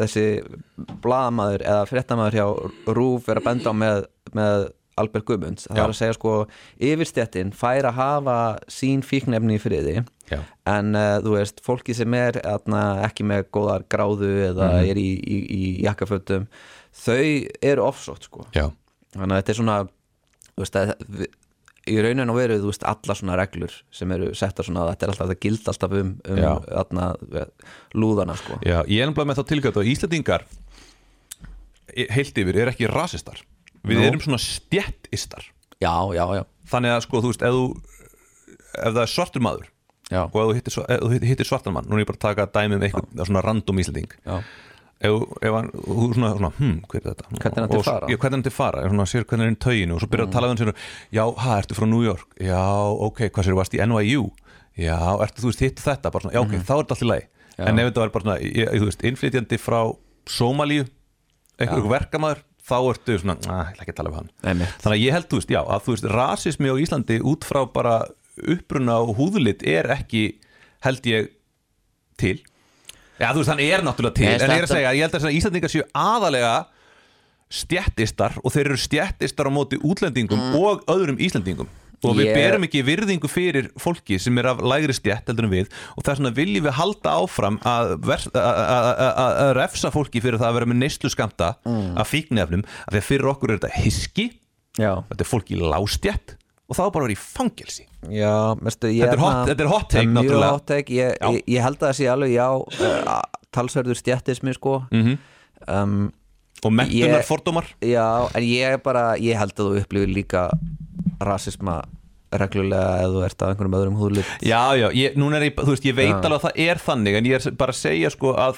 þessi blaðamaður eða fréttamaður hjá Rúf er að benda á með, með Albert Guðmunds það Já. er að segja sko yfirstjættin fær að hafa sín fíknefni í friði Já. en uh, þú veist fólki sem er atna, ekki með góðar gráðu eða Mhm. er í, í, í jakkafötum þau eru ofsótt sko já, þannig að þetta er svona þú veist, að, við, í rauninu veru þú veist, alla svona reglur sem eru settar svona þetta er alltaf, það gild alltaf um, um Já. atna, lúðana sko já ég er náttúrulega með þá tilgætt að Íslandingar heilt yfir er ekki rasistar við Nú. erum svona stjettistar já, já, já, þannig að sko, þú veist, ef þú ef það er svartur maður já, og ef þú hittir, ef þú hittir svartan mann núna er ég bara að taka dæmi um eitthvað svona random Íslanding já. ef, ef hann, og þú svona, svona hm, hver er þetta? Hvernig er hann til Og svo- fara? Já, hvernig er hann til fara? Svona, sér hvernig er hann í tauginu og svo byrjar að tala um sér já, ha, ertu frá New York? Já, ok, hvað sér, varst í NYU? Já, ertu, þú veist, hitt þetta? Bara svona, já, ok, Mhm. þá er þetta allt í lagi en ef þetta var bara svona, ég, þú veist, innflytjandi frá Somalíu, einhverjum verkamaður þá ertu svona, að, ég ætla ekki að tala um hann Einmitt. þannig að ég held, þú veist, já, að þú veist rasismi á Íslandi út frá bara uppruna og húðulit er ekki held ég til Já, þú veist, hann er náttúrulega til, Nei, en ég er að þetta- segja, ég held að þess að Íslandingar séu aðalega stjættistar og þeir eru stjættistar á móti útlendingum og öðrum Íslandingum og við Mm. Ég- berum ekki virðingu fyrir fólki sem er af lægri stjætt heldur en við og það er svona viljum við halda áfram að, vers, að, að, að, að refsa fólki fyrir það að vera með neyslu skamta Mm. af fíknefnum af því að fyrir okkur er þetta hiski já, þetta er fólki lástjætt og það er bara að vera í fangelsi já mestu, Þetta er hot- þetta er hot take, mjög náttúrulega. hot take, ég, Já. ég, ég held að það sé alveg já, uh, talsverður stjættismi sko Mhm. -hmm. um, og mentunar fordómar Já, en ég er bara, ég held að þú upplifir líka rasisma reglulega ef þú ert af einhverjum öðrum húðlut Já, já, ég, núna er ég, þú veist, ég veit alveg að það er þannig en ég er bara að segja sko að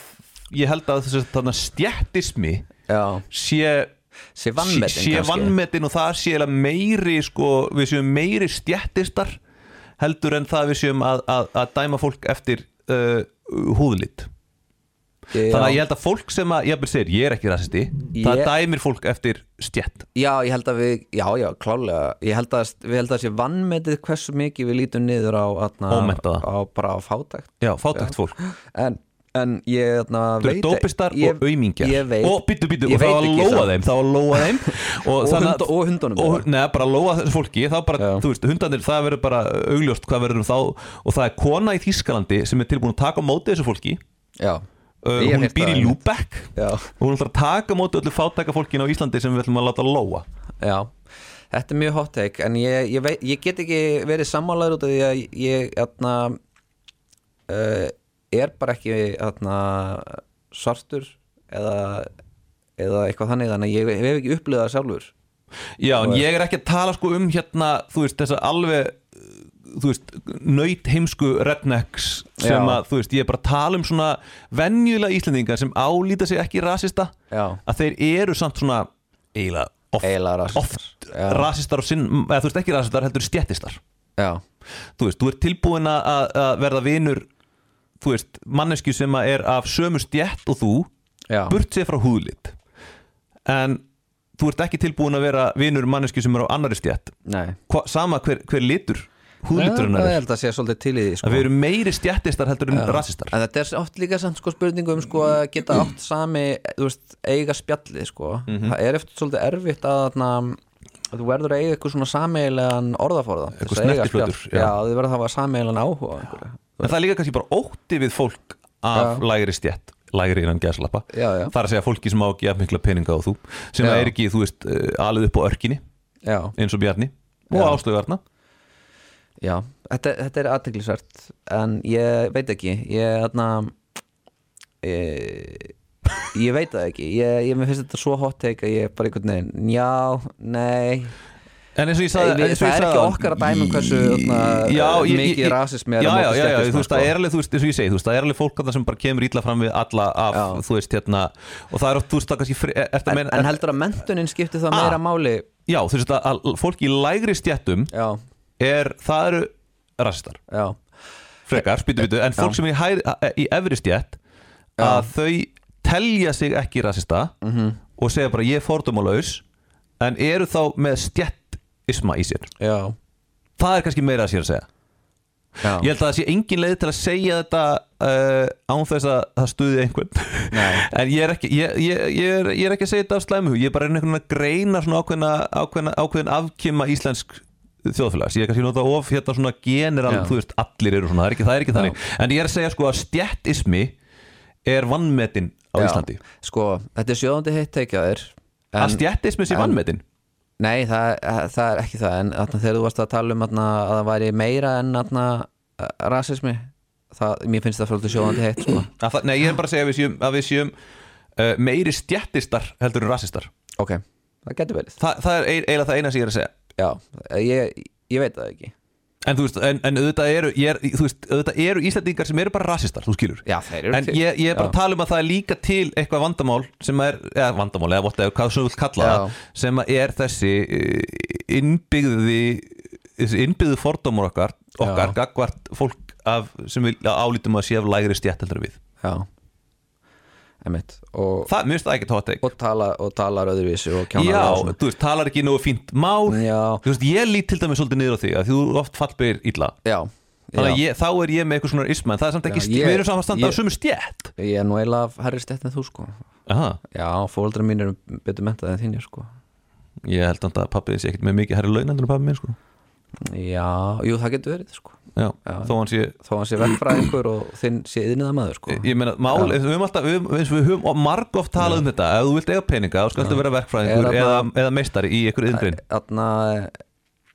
ég held að þess að stjættismi Já, sé sé vannmetin sé, sé kannski. vannmetin og það sé eiginlega meiri sko, við séum meiri stjættistar heldur en það við séum að, að, að dæma fólk eftir uh, húðlit þannig að ég held að fólk sem að, ég segir, ég er ekki rasisti það Ég- dæmir fólk eftir stjætt Já, ég held að við, já, já, klálega Ég held að, við held að sé vannmetið hversu mikið við lítum niður á, atna, Ómenntaða. á bara á fátækt já, fátækt fólk En, en ég, atna, Þau eru dópistar og aumingjar Ég veit Og býttu býttu, ég og það veit var að ekki lóa það. þeim Það var að lóa þeim Og þannig hunda- og hundunum og, þeirra. Nei, bara að lóa þessu fólki Það bara, Já. þú veist, hundanir, það verður bara augljóst Hvað verður um þá Og það er kona í Þískalandi sem er tilbúin að taka á móti þessu fólki Já, uh, Ég hef Hún heyrt býr í það, einmitt. Lúbekk já, Og hún ætlar að taka á móti öllu fátæka fólkinu á Íslandi Sem við ætlum að láta lóa já Þetta er mjög hot take En ég, ég, veit, ég get ekki verið sammálaður út af því að ég, atna, uh, er bara ekki atna, svartur eða, eða eitthvað þannig Þannig að ég, ég hef ekki upplifað það sjálfur Já, en ég er ekki að tala sko um hérna Þú veist, þessa alveg uh, þú veist, nöyt heimsku rednecks sem Já. að, þú veist, ég er bara að tala um svona venjulega Íslendinga sem álíta sig ekki rasista Já. að þeir eru samt svona eiginlega oft, Eiginlega rasistar. oft Já. rasistar og sinn, eða þú veist ekki rasistar heldur stjættistar Já, þú veist, þú ert tilbúin að- að að verða vinur þú veist, mannesku sem að er af sömu stjætt og þú já burt sér frá húðlit en þú ert ekki tilbúin að vera vinur mannesku sem er á annari stjætt Nei Hva, sama hver, hver litur húðliturinn Nei, það er held að sé svolítið til í því sko. að við erum meiri stjættistar heldur en rasistar En þetta er oft líka samt sko spurningu um sko að geta átt sami, þú veist, eiga spjallið sko Mhm. Það er eftir svolítið erfitt að þarna að þú verður að eiga eitthvað svona sameigilegan orðaforða til Eitthvað þess að eiga snertiflötur, já. spjall. Já, þið verður að hafa sameigilegan áhuga á einhverju. en það er líka kannski bara ótti við fólk af lægri stjætt lægri innan gæslappa Já, já. þar að segja fólki sem á ekki að mikla peninga á þú sem Já. er ekki, þú veist, eh, alið upp á örkinni Já, eins og Bjarni og Já. ástöðuarna já, þetta, þetta er aðteglisvert en ég veit ekki ég þarna ég, ég veit það ekki ég, ég mér finnst þetta svo hot take að ég bara einhvern veginn já, nei En eins og ég Ei, sagði við- eins og ég það er sagði ekki áðan- okkar að dæma um hversu, þarna, uh, ég- mikið ég- rasismi er á Já, móti já, já, já, stéttisma, þú veist, sko. það er alveg, þú veist, eins og ég segi þú veist, það er alveg fólk að það sem bara kemur ítla fram við alla af, Já. þú veist, hérna og það er, oft, þú veist, það kannski fre- ertu að en, meina- en heldur að mentunin skipti það Ah. meira máli Já, þú veist, að- að fólk í lægri stjættum Já, er, það eru rasistar, já frekar, spýtu, spýtu en fólk Já. sem er í, hæð, í efri stjætt að þau telja sig ekki rasista Mhm. -hmm. og segja bara ég er fordumalaus en eru þá með stjættisma í sér Já, það er kannski meira að sér að segja já. Ég held að það sé engin leið til að segja þetta uh, án þess að það stuði einhvern En ég er, ekki, ég, ég, ég, er, ég er ekki að segja þetta af slæmuhug Ég er bara einhvern veginn að greina svona ákveðna, ákveðna, ákveðin afkima íslensk þjóðfélags Ég er kannski nota of hérna svona general, Já. þú veist, allir eru svona, það er ekki, það er ekki Já. þannig En ég er að segja sko að stjættismi er vannmetin á Já. Íslandi Sko, þetta er sjóðandi heitt teikja þér en- Að stjættismi sé en- vannmetin Nei, það, það er ekki það En þarna, þegar þú varst að tala um þarna, að það væri meira en þarna, eh, rasismi það, Mér finnst það fyrir sjóðandi heitt sko. að það, Nei, ég er bara að segja að við séum, að við séum uh, meiri stjættistar heldur en rasistar Ok, það getur verið Þa, Það er eig- eiginlega það eina sem ég er að segja Já, ég, ég veit það ekki En þú veist, en, en auðvitað, eru, ég er, þú veist, auðvitað eru Íslandingar sem eru bara rasistar, þú skilur Já, þeir eru En til. ég, ég er bara Já. að tala um að það er líka til eitthvað vandamál sem er, eða vandamál eða whatever, hvað sem þú vilt kalla Já. það sem að er þessi eh, innbyggði þessi innbyggðu fordómur okkar okkar, Já. gagvart fólk af, sem við álítum að sé af lægri stjætt heldur en við Já Einmitt. Og, Það, mér finnst það ekki tótt ekki og, tala, og talar öðruvísi og kjánar Já, og svona. þú veist, talar ekki nógu fínt mál Já. Þú veist, ég lít til dæmis svolítið niður á því að því þú oft fallbyr illa já Þannig að já. ég, þá er ég með eitthvað svona isma en það er samt ekki, Já, st- ég- við erum saman að standa ég- á sömu stjætt ég er nú eiginlega af herri stett en þú sko Aha, Já, fóreldrar mín eru betur mentað en þínir sko ég held samt að pappið sé ekkert með mikið herri launendur en pappið minn sko Já, jú það getur verið sko Já, Já. þó hann sé Þó hann sé verkfræðingur og þinn sé yðniða maður sko Ég meina, mál, Já. eins og við höfum alltaf við, höfum- eins og við höfum margóft talað um þetta ef þú vilt eiga peninga, þá skaltu vera verkfræðingur Eða- eða, eða meistari í einhverju yndrin Þarna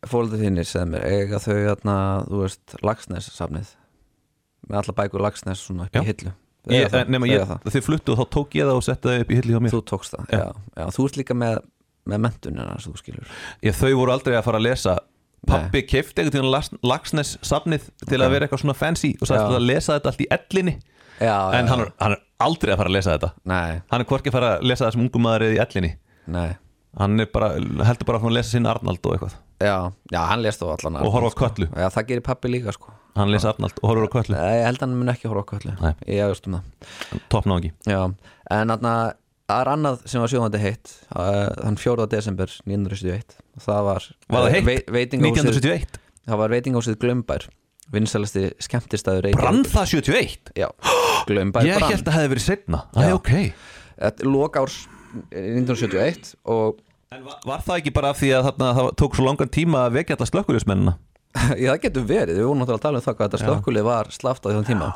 fóreldrar þínir sem er eiga þau þarna, þú veist, Lagsnes safnið með alla bækur Lagsnes svona upp Já. eh, í hillu Þau eiga það, Nefnum þau að eiga það. þið fluttu og þá tók ég það og setti það upp í hilli hjá mér Þú tókst það, já. Já, Þú ert líka með, með mentunina sem þú skilur ég, Þau voru aldrei að fara að lesa Pappi keifti einhvern tíðan Lagsnes safnið til að vera eitthvað svona fancy og sagði Já. að lesa þetta allt í ellinni Já, en hann er, hann er aldrei að fara að lesa þetta Nei, hann er hvorki að fara að lesa það sem ungum maður eða í ellinni nei hann er bara, heldur bara áfram að lesa sinn Arnald og eitthvað Já, já, hann lést þó allan og horfa á köllu, Já, það gerir pappi líka sko hann lesa Arnald og horfa á köllu, Nei, ég held að hann mun ekki horfa á köllu Nei. Ég efast um það toppná ekki Já, en þarna það er annað sem var sjóðandi heitt uh, þann 4. desember 1971 og það var, eh, Var það heitt? Vei- veitingahúsið, 1971 það var veitingahúsið Glömbær vinsalasti skemmtistæður Brann það 71? Já, Glömbær Ég brann held að það hefði verið setna Það Já. er ok Þetta er eh, lok árs 1971 og En var, var það ekki bara af því að þarna, það tók svo langan tíma að vekja alla slökkulismennina? Já, það getur verið, við vorum náttúrulega að tala um það hvað þetta slökkulið var slaft á þjóðan tíma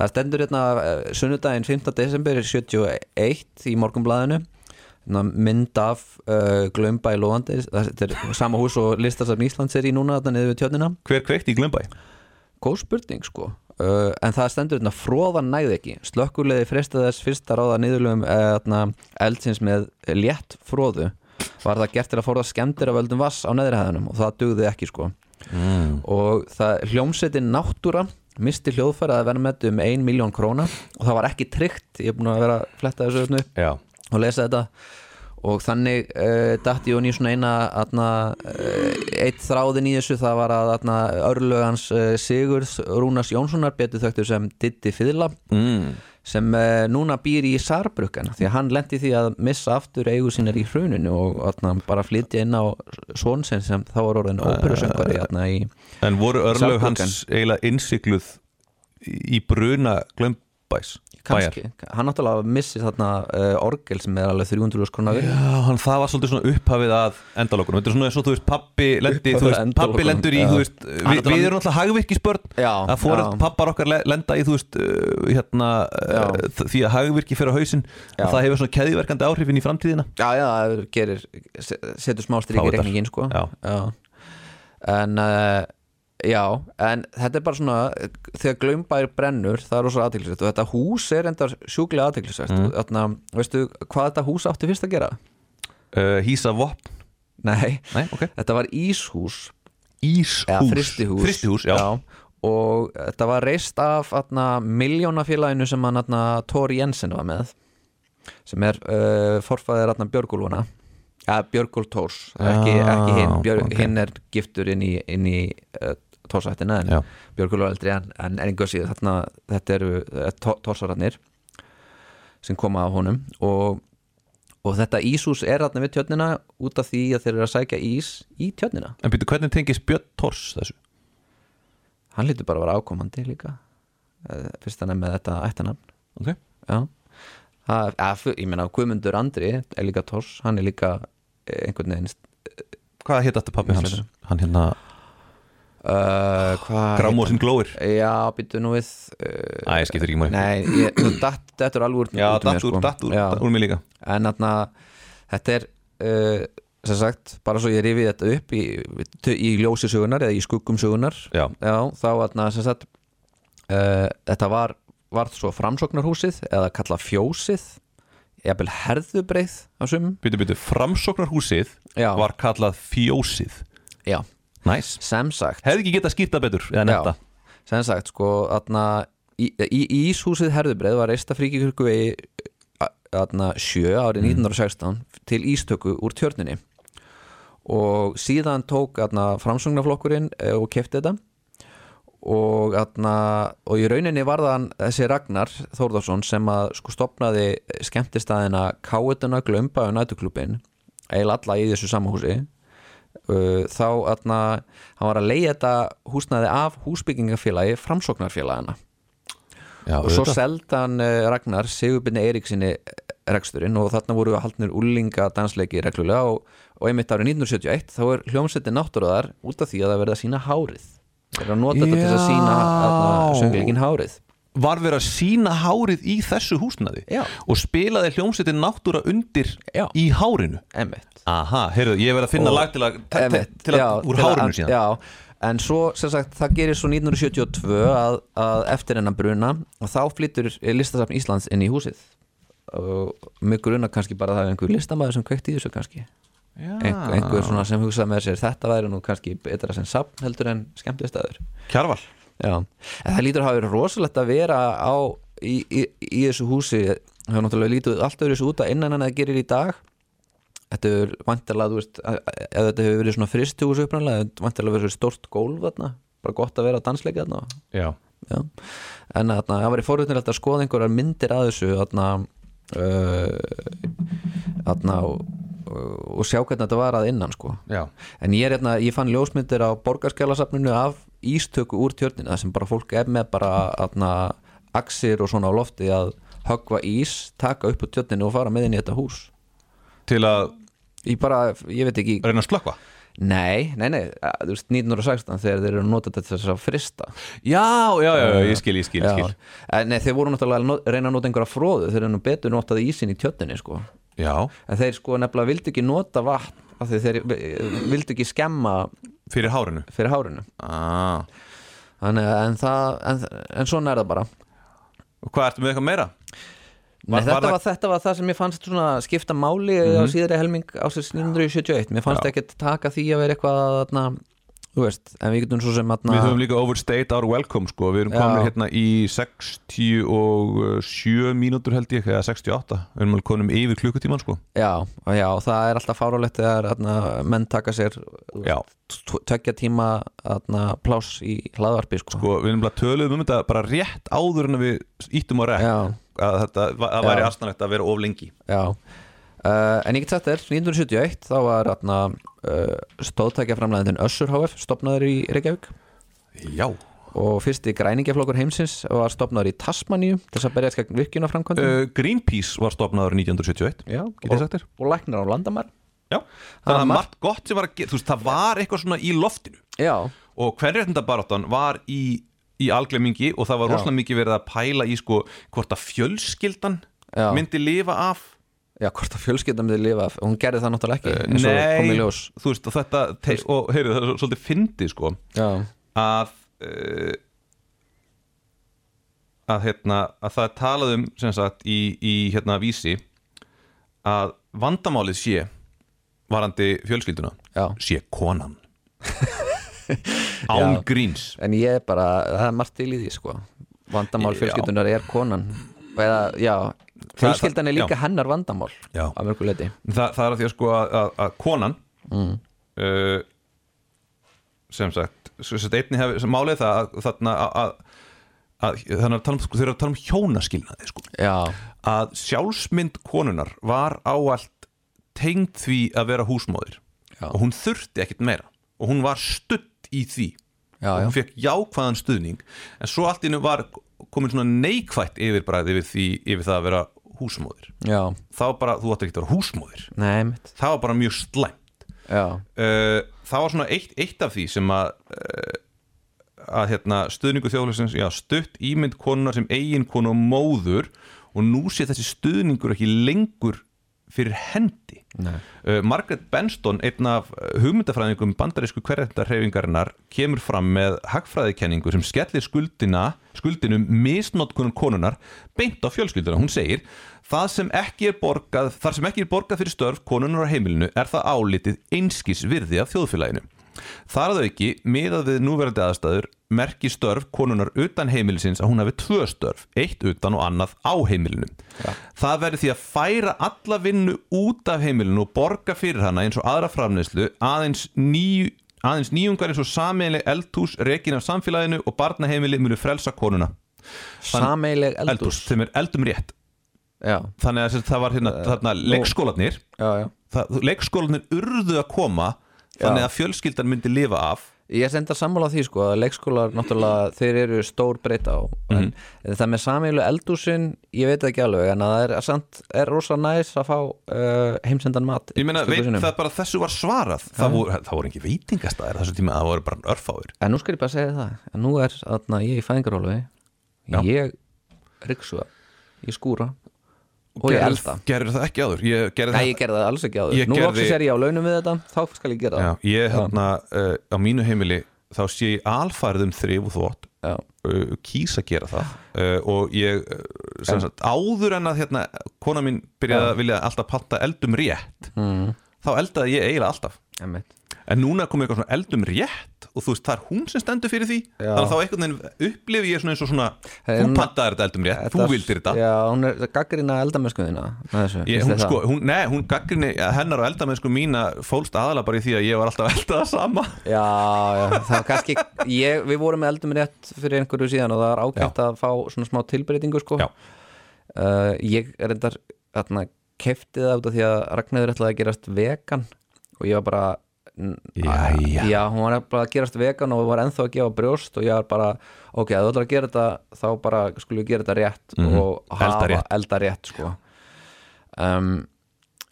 Það stendur hérna eh, sunnudaginn 5. desember 71 í morgumblaðinu Hérna, mynd af uh, glömba í lofandi þetta er sama hús og listasafn Íslands er í núna þarna niður við tjörnina Hver kveikt í Glömbæ? góð spurning sko uh, en það stendur hérna fróðan næði ekki slökkuleiði freysta þess fyrsta ráða niðurlögum uh, eldsins með létt fróðu var það gert til að forða skemmtir af völdum vass á neðrihæðunum og það dugði ekki sko mm. og það hljómsetin náttúra misti hljóðfæra að vera með um 1 miljón króna og það var ekki tryggt ég er búin að vera að fletta þessu hérna upp Já og lesa þetta og þannig uh, datt ég hún í svona eina atna, uh, eitt þráðin í þessu það var að atna, örlögans uh, Sigurð Rúnars Jónssonar betur þögtur sem Diddi Fyðla mm. sem uh, núna býr í Sarbrukkan því að hann lendi því að missa aftur eigu sínar í hruninu og atna, bara flytja inn á svonsinn sem þá var orðin óperusöngvari atna, í, En voru örlög Sjálfbjörgan. hans eiginlega innsikluð í bruna Glömbæs? kannski, hann náttúrulega missir þarna uh, orgel sem er alveg 300 skrona virði Já, hann, það var svolítið svona upphafið að endalokunum Þetta er svona eins og þú veist pappi lendi, Upphafið þú að veist, pappi endalokunum, lendur í já. þú veist, Hann við, náttúrulega- við erum alltaf hagvirkisbörn Já, að fóröld já. pappar okkar le- lenda í þú veist, uh, hérna, uh, Já. þ- því að hagvirki fyrir á hausinn Já. og það hefur svona keðiverkandi áhrifin í framtíðina Já, já, það gerir, setur smá strik í Fávitar. reikningin sko Já. En uh, já, en þetta er bara svona þegar glömbær brennur, það er rosa aðtilsvægt og þetta hús er endar sjúklega aðtilsvægt mm. Þarna, veistu hvað þetta hús átti fyrst að gera? uh, Hýsa vopn Nei, Nei, ok. þetta var íshús Íshús eða fristihús, Fristihús, já, og þetta var reist af atna, miljónafélaginu sem hann atna, Tóri Jensen var með sem er uh, forfæðir atna, Björgúlfuna ja, Björgúl Tórs, það er ekki, Ah, ekki hinn Björg, ok. hinn er giftur inn í, inn í uh, Tórsættina en Já. Björgúl var eldri en, en einhver síður þarna, þetta eru uh, tó, Tórsararnir sem koma af honum og, og þetta íshús er þarna við tjörnina út af því að þeir eru að sækja ís í tjörnina En býtu, hvernig tengist Björn Tors þessu? hann lítur bara að vera ákomandi líka Eh, fyrst hann er með þetta ættanafn Ok já Það- eða, fu- ég meina Guðmundur Andri er líka Tors, hann er líka eh, einhvern veginn Hvað hétt aftur pappi hans? Íslenskar. Hann hérna uh, hvað Grámóðsinn glóir já, býttu nú við uh, Æ, skiptir ekki máli nei, ég, þú datt, þetta er alveg úr Já, út úr mér, datt úr, sko. datt úr, Já. datt úr mig líka en þarna, þetta er uh, sem sagt, bara svo ég rifið þetta upp í, í ljósi sögunar eða í skuggum sögunar Já. þá þarna, sem sagt uh, þetta var, var svo framsóknarhúsið eða kalla fjósið jafnvel herðubreið á sumum Býtu, býtu, framsóknarhúsið Já. var kallað fjósið já, Næs sem sagt Hefði ekki getað skýrt það betur eða netta Já, sem sagt sko atna, í, í, í Íshúsið Herðubreið var reista fríkikirku vegi atna, 7 árið 1916 til ístöku úr tjörninni og síðan tók atna, framsögnaflokkurinn eh, og kefti þetta og, atna, og í rauninni var þann þessi Ragnar Þórðarsson sem að sko stopnaði skemmtistæðina Káetuna, Glömba og Nætuklubin eiginlega alla í þessu samahúsi uh, þá atna, hann var að leiða þetta húsnaði af húsbyggingafélagi framsóknarfélagina Já, og svo seldi hann uh, Ragnar Sigurbyrni Eiríksinni reksturinn og þarna voru haldnir úlinga dansleiki reglulega og, og einmitt árið 1971 þá er hljómsveitin náttúröðar út af því að það verða að sína hárið þeir eru að nota þetta til þess að sína Já. söngleikin hárið var verið að sína hárið í þessu húsnaði Já. og spilaði hljómsveitin náttúra undir Já. í hárinu einmitt Aha, heyrðu, ég verið að finna Og- lag til að, te- te- Einmitt, til að já, úr til að- hárinu síðan já, en svo sem sagt það gerir svo 1972 að, að eftir hennar bruna og þá flyttur listasafn Íslands inn í húsið og mig gruna kannski bara að það er einhver listamaður sem kveikt í þessu kannski Einhver, einhver svona sem hugsaði með sér þetta væri nú kannski betra sem safn heldur en skemmtistæður Kjarval Já, en það lítur að hafa verið rosalegt að vera á, í, í, í þessu húsi það er náttúrulega lítið allt öðru þessu út að innan en það gerir í dag þetta er vantarlega, þú veist að- að- ef þetta hefur verið svona fristihús uppræðanlega þetta er vantarlega verið stórt gólf þarna bara gott að vera á dansleika þarna Já Já. en þarna, það væri forutnilegt að skoða einhverjar myndir að þessu þarna uh, þarna og, og og sjá hvernig þetta var að innan sko Já. en ég, er, hérna, ég fann ljósmyndir á borgarskjálasafninu af ístöku úr tjörnina sem bara fólk er með bara atna, axir og svona á lofti að höggva ís, taka upp úr tjörninu og fara með inn í þetta hús Til að ég bara, ég veit ekki reyna að slökva nei, nei, nei, að, þú veist 1916 þegar þeir eru að nota þetta til þess að frista Já, já, já, já, ég skil, ég skil, ég skil. En, nei, þeir voru náttúrulega að nó- reyna að nota einhverja fróðu þeir eru nú betur notaði ísin í tjörninu sko. Já, en þeir sko nefnilega vildi ekki nota vatn af því þeir eh, vildu ekki skemma fyrir hárinu fyrir hárinu ah. Þannig, að- en, það, en, en svona er það bara Og hvað ertu með eitthvað meira? Nei, Var- var þetta, það- Mhm. var, þetta var það sem ég fannst svona skipta máli á síðari helming ásins 1971 Mér fannst Já. ekki taka því að vera eitthvað að, þarna, Þú veist, en við getum svo sem atna, Við höfum líka overstate our welcome sko Við erum Hérna- Já. komin hérna í 67 mínútur held ég eða 68, við erum alveg konum yfir klukkutíman sko Já, og já, og það er alltaf fárálegt þegar atna, menn taka sér þú Já. veist, tv- tveggja tíma atna, pláss í hlaðvarpi sko. Sko, við erum bara töluðum um þetta bara rétt áður en að við íttum á rekk Já. að þetta va- að væri Já. astanlegt að vera of lengi Já uh, En ég get sagt þér, 1971 þá var atna, uh, stóðtækja framlæðin Össur HF stopnaður í Reykjavík Já og fyrsti græningaflokkur heimsins var stopnaður í Tasmaníu þess að berjast gegn virkjuna framkvæmdum uh, Greenpeace var stopnaður 1971 Já, getið og, sagt þér og læknar á landamær Já, þannig Það að var margt gott sem var að gera þú veist, það var eitthvað svona í loftinu Já, og hverjartindabaráttan var í, í alglemingi og það var Já. rosalega mikið verið að pæla í sko hvort að fjölskyldan Já. myndi lifa af já hvort að fjölskylda myndi lifa af- hún gerði það náttúrulega ekki eins og kom í Nei, ljós þú veist og þetta te- og heyrðu það er svo- svolítið fyndið sko Já, að uh, að hérna að það er talað um sem sagt í, í hérna vísi að vandamálið sé varandi fjölskylduna Já. sé konan án Já. gríns en ég er bara, það er margt til í því sko vandamál Já. fjölskyldunar er konan eða, já, fjölskyldan er líka já. hennar vandamál Já. að mörgu leiti Þa, það er að því að sko að, að, að konan Mm. uh, sem sagt sem sagt, einni hef, sem málið er það að, þarna að, að, að þannig að tala um, sko, þeir eru að tala um hjónaskilnaði sko. já, að sjálfsmynd konunar var áallt tengd því að vera húsmóðir Já. og hún þurfti ekkit meira og hún var stutt í því Já, og hún já. fekk jákvæðan stuðning en svo allt innu var komin svona neikvætt yfirbræði yfir, því, yfir það að vera húsmóðir já, þá var bara, þú átti ekki að vera húsmóðir nei, mitt það var bara mjög slæmt já, uh, það var svona eitt, eitt af því sem að uh, að hérna stuðningu þjóðfélagsins, já, stutt ímynd konunar sem eigin konu og móður og nú sé þessi stuðningur ekki lengur fyrir hendi Nei. uh, Margaret Benston, einn af uh, hugmyndafræðingum bandarísku hverjendarhefingarinnar kemur fram með hagfræðikenningu sem skellir skuldina skuldinum misnotkunum konunar beint á fjölskylduna, hún segir það sem ekki er borgað, þar sem ekki er borgað fyrir störf konunar á heimilinu er það álitið einskis virði af þjóðfélaginu Þar að auki, miðað við núverandi aðstæður, merki störf konunar utan heimilisins að hún hafi tvö störf, eitt utan og annað á heimilinu. Það verður því að færa alla vinnu út af heimilinu og borga fyrir hana eins og aðra framneyslu aðeins nýju aðeins nýjungar eins og sameiginleg eldhús rekin af samfélaginu og barnaheimili munu frelsa konuna sameileg eldús eldhús, sem er eldum rétt já, þannig að sem sagt, það var hérna, þarna leikskólanir já, já það, leikskólanir urðu að koma þannig að fjölskyldan myndi lifa af Ég er senda sammála því sko að leikskólar náttúrulega þeir eru stór breyta á en, Mhm. en það með samílu eldúsin ég veit það ekki alveg en að það er, samt, er rosa næs að fá uh, heimsendan mat Ég meina, stöku veit sinnum. það bara að þessu var svarað Það voru, það voru engin veitingastæðir þessu tíma Það voru bara örfáir En nú skal ég bara segja það en nú er atna, ég Já. í fæðingarólfi ég ryksuga, ég skúra og ég Gerðir- elda Gerðir það ekki áður Ég gerði Nei, það ég gerði það alls ekki Ég áður Nú gerði- gerði... er ég á launum við þetta, þá skal ég gera Já, það Ég hérna uh, á mínu heimili Þá sé ég alfærið um þrif og þvott Já. uh, Kýs að gera það uh, Og ég uh, sem sagt, Áður en að hérna Kona mín byrjaði að vilja alltaf panta eldum rétt mm. Þá eldaði ég eiginlega alltaf Einmitt. En núna kom eitthvað svona eldum rétt Og þú veist, það er hún sem stendur fyrir því Já. Þannig að þá einhvern veginn upplifi ég svona eins og svona Þú En- pantaðir þetta eldum rétt, þú Þetta- vildir þetta Já, hún er gaggrina eldamennskuðina Ég, hún, sko, hún, nei, hún gaggrinni hennar og eldamennsku mína fólst aðalega bara í því að ég var alltaf að elda það sama Já, já, það var kannski ég, Við vorum með eldum rétt fyrir einhverju síðan og það var ágætt að fá svona smá tilbreytingu sko. Já. uh, Ég er endar þarna, kefti það út af því að Ragnarður ætlaði að gerast vegan og ég var bara n- Jæja. Já, hún var bara að gerast vegan og var ennþá að gefa brjóst og ég var bara ok, ef þú ætlar að gera þetta þá bara skulum við gera þetta rétt og Mhm. Elda hafa rétt. elda rétt sko. um,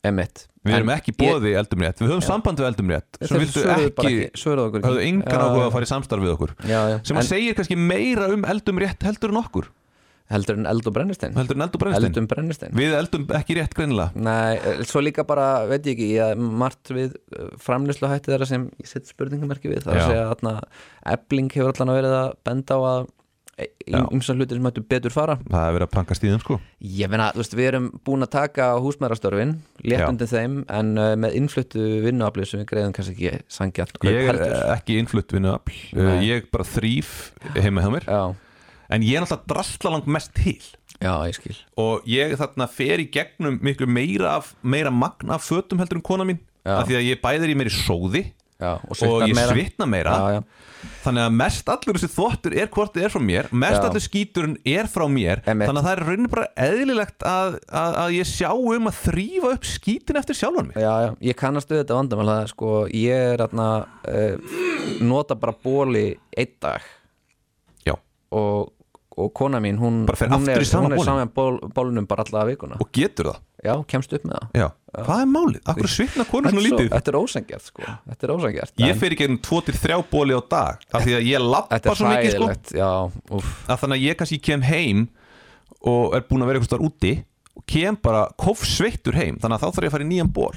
Emitt Við erum ekki bóði í eldum rétt, við höfum Já. samband við eldum rétt sem Þeir vildu svöruðu bara ekki, ekki- svöruðu okkur ekki. höfðu engan Já, áhuga já. að fara í samstarf við okkur Já, já. sem að En- segir kannski meira um eldum rétt heldur en okkur, heldur en eld og brennistein heldur en eldum brennstein eldum brennistein Við eldum ekki rétt greinilega Nei, eh, svo líka bara, veit ég ekki ég, margt við framlýslu hætti þeirra sem ég set spurningamarki við það er Já. að segja þarna, ebling hefur allan verið að benda á að e- Já. ymsan hlutir sem hættu betur fara Það er verið að panka stíðum sko ég meina, þú veist, við erum búin að taka á húsmæðrastörfin, létt Já. undir þeim en uh, með innfluttu vinnuaflið sem við greiðum kannski ekki sangjart Ég er eh, ekki innflutt vinnu afl Nei. Ég bara þrýf heima hjá mér já, En ég er alltaf drasla langt mest til já, ég skil og ég þarna fer í gegnum miklu meira, af, meira magna af fötum heldur en kona mín Já. af því að ég bæðir í meiri sóði já, og svitnar ég meira. svitna meira já, já. þannig að mest allur þessi þvottur er hvort þið er frá mér mest Já. allur skíturinn er frá mér Einmitt. þannig að það er raunin bara eðlilegt að, að, að ég sjá um að þrýfa upp skítin eftir sjálfan mig Já, já, ég kannast við þetta vandamál það er sko, ég er atna, uh, nota bara bóli einn dag Já. og, og kona mín hún, Bara fer hún aftur er, í sama hún er bolinn? saman ból, bólunum bara alla vikuna og getur það Já, kemst upp með það Já. hvað er málið? Akkur svitna konur svona Þetta er svo- lítið Þetta er ósengjart sko Þetta er ósengjart ég fer í gegnum tvo til þrjá bóli á dag af því að ég Þetta lappa er svo mikið sko hræðilegt, já, úff að þannig að ég kannski kem heim og er búin að vera eitthvað starf úti og kem bara kofsveittur heim þannig að þá þarf ég að fara í nýjan ból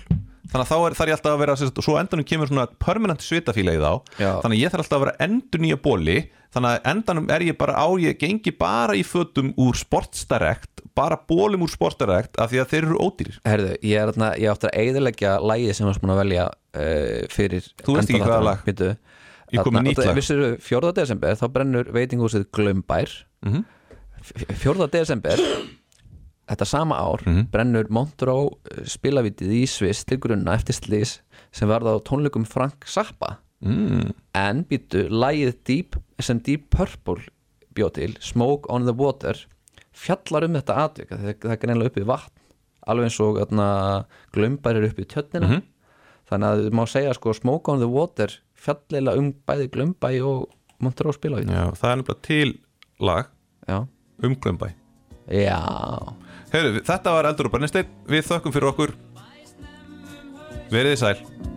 þannig að þá er, þarf ég alltaf að vera sem sagt, og svo á endanum kemur svona permanent svitafíla í þá Já. þannig að ég þarf alltaf að vera endur nýja bóli þannig að endanum er ég bara á ég gengi bara í fötum úr sportstarekt bara bólum úr sportarekt af því að þeir eru ódýrir Herðu, ég er þarna, ég átti að eigðilegja lægið sem varst búin að velja uh, fyrir Þú veist ekki endaþáttunum. hvaða lag. Bíddu. Ég kom með Þarna- nýtt lag. Vissirðu, 4. desember, þá brennur veitingúsið Glömbær mm Mhm. 4. desember þetta sama ár Mhm. brennur Montró spilavitið í Sviss til grunna eftir slís sem varða á tónleikum Frank Zappa mm. en býtu lægið Deep, sem Deep Purple bjó til Smoke on the Water fjallar um þetta atvik að það, það er greinlega upp í vatn alveg eins og þarna, glömbar er upp í tjötnina þannig að þú má segja sko Smoke on the Water fjallilega um bæði glömbæ og Montreux spila við Já, það er nefnilega til lag já. um Glömbæ já, Heyrðu, þetta var Eldur og Brennisteinn Við þökkum fyrir okkur Verið þið sæl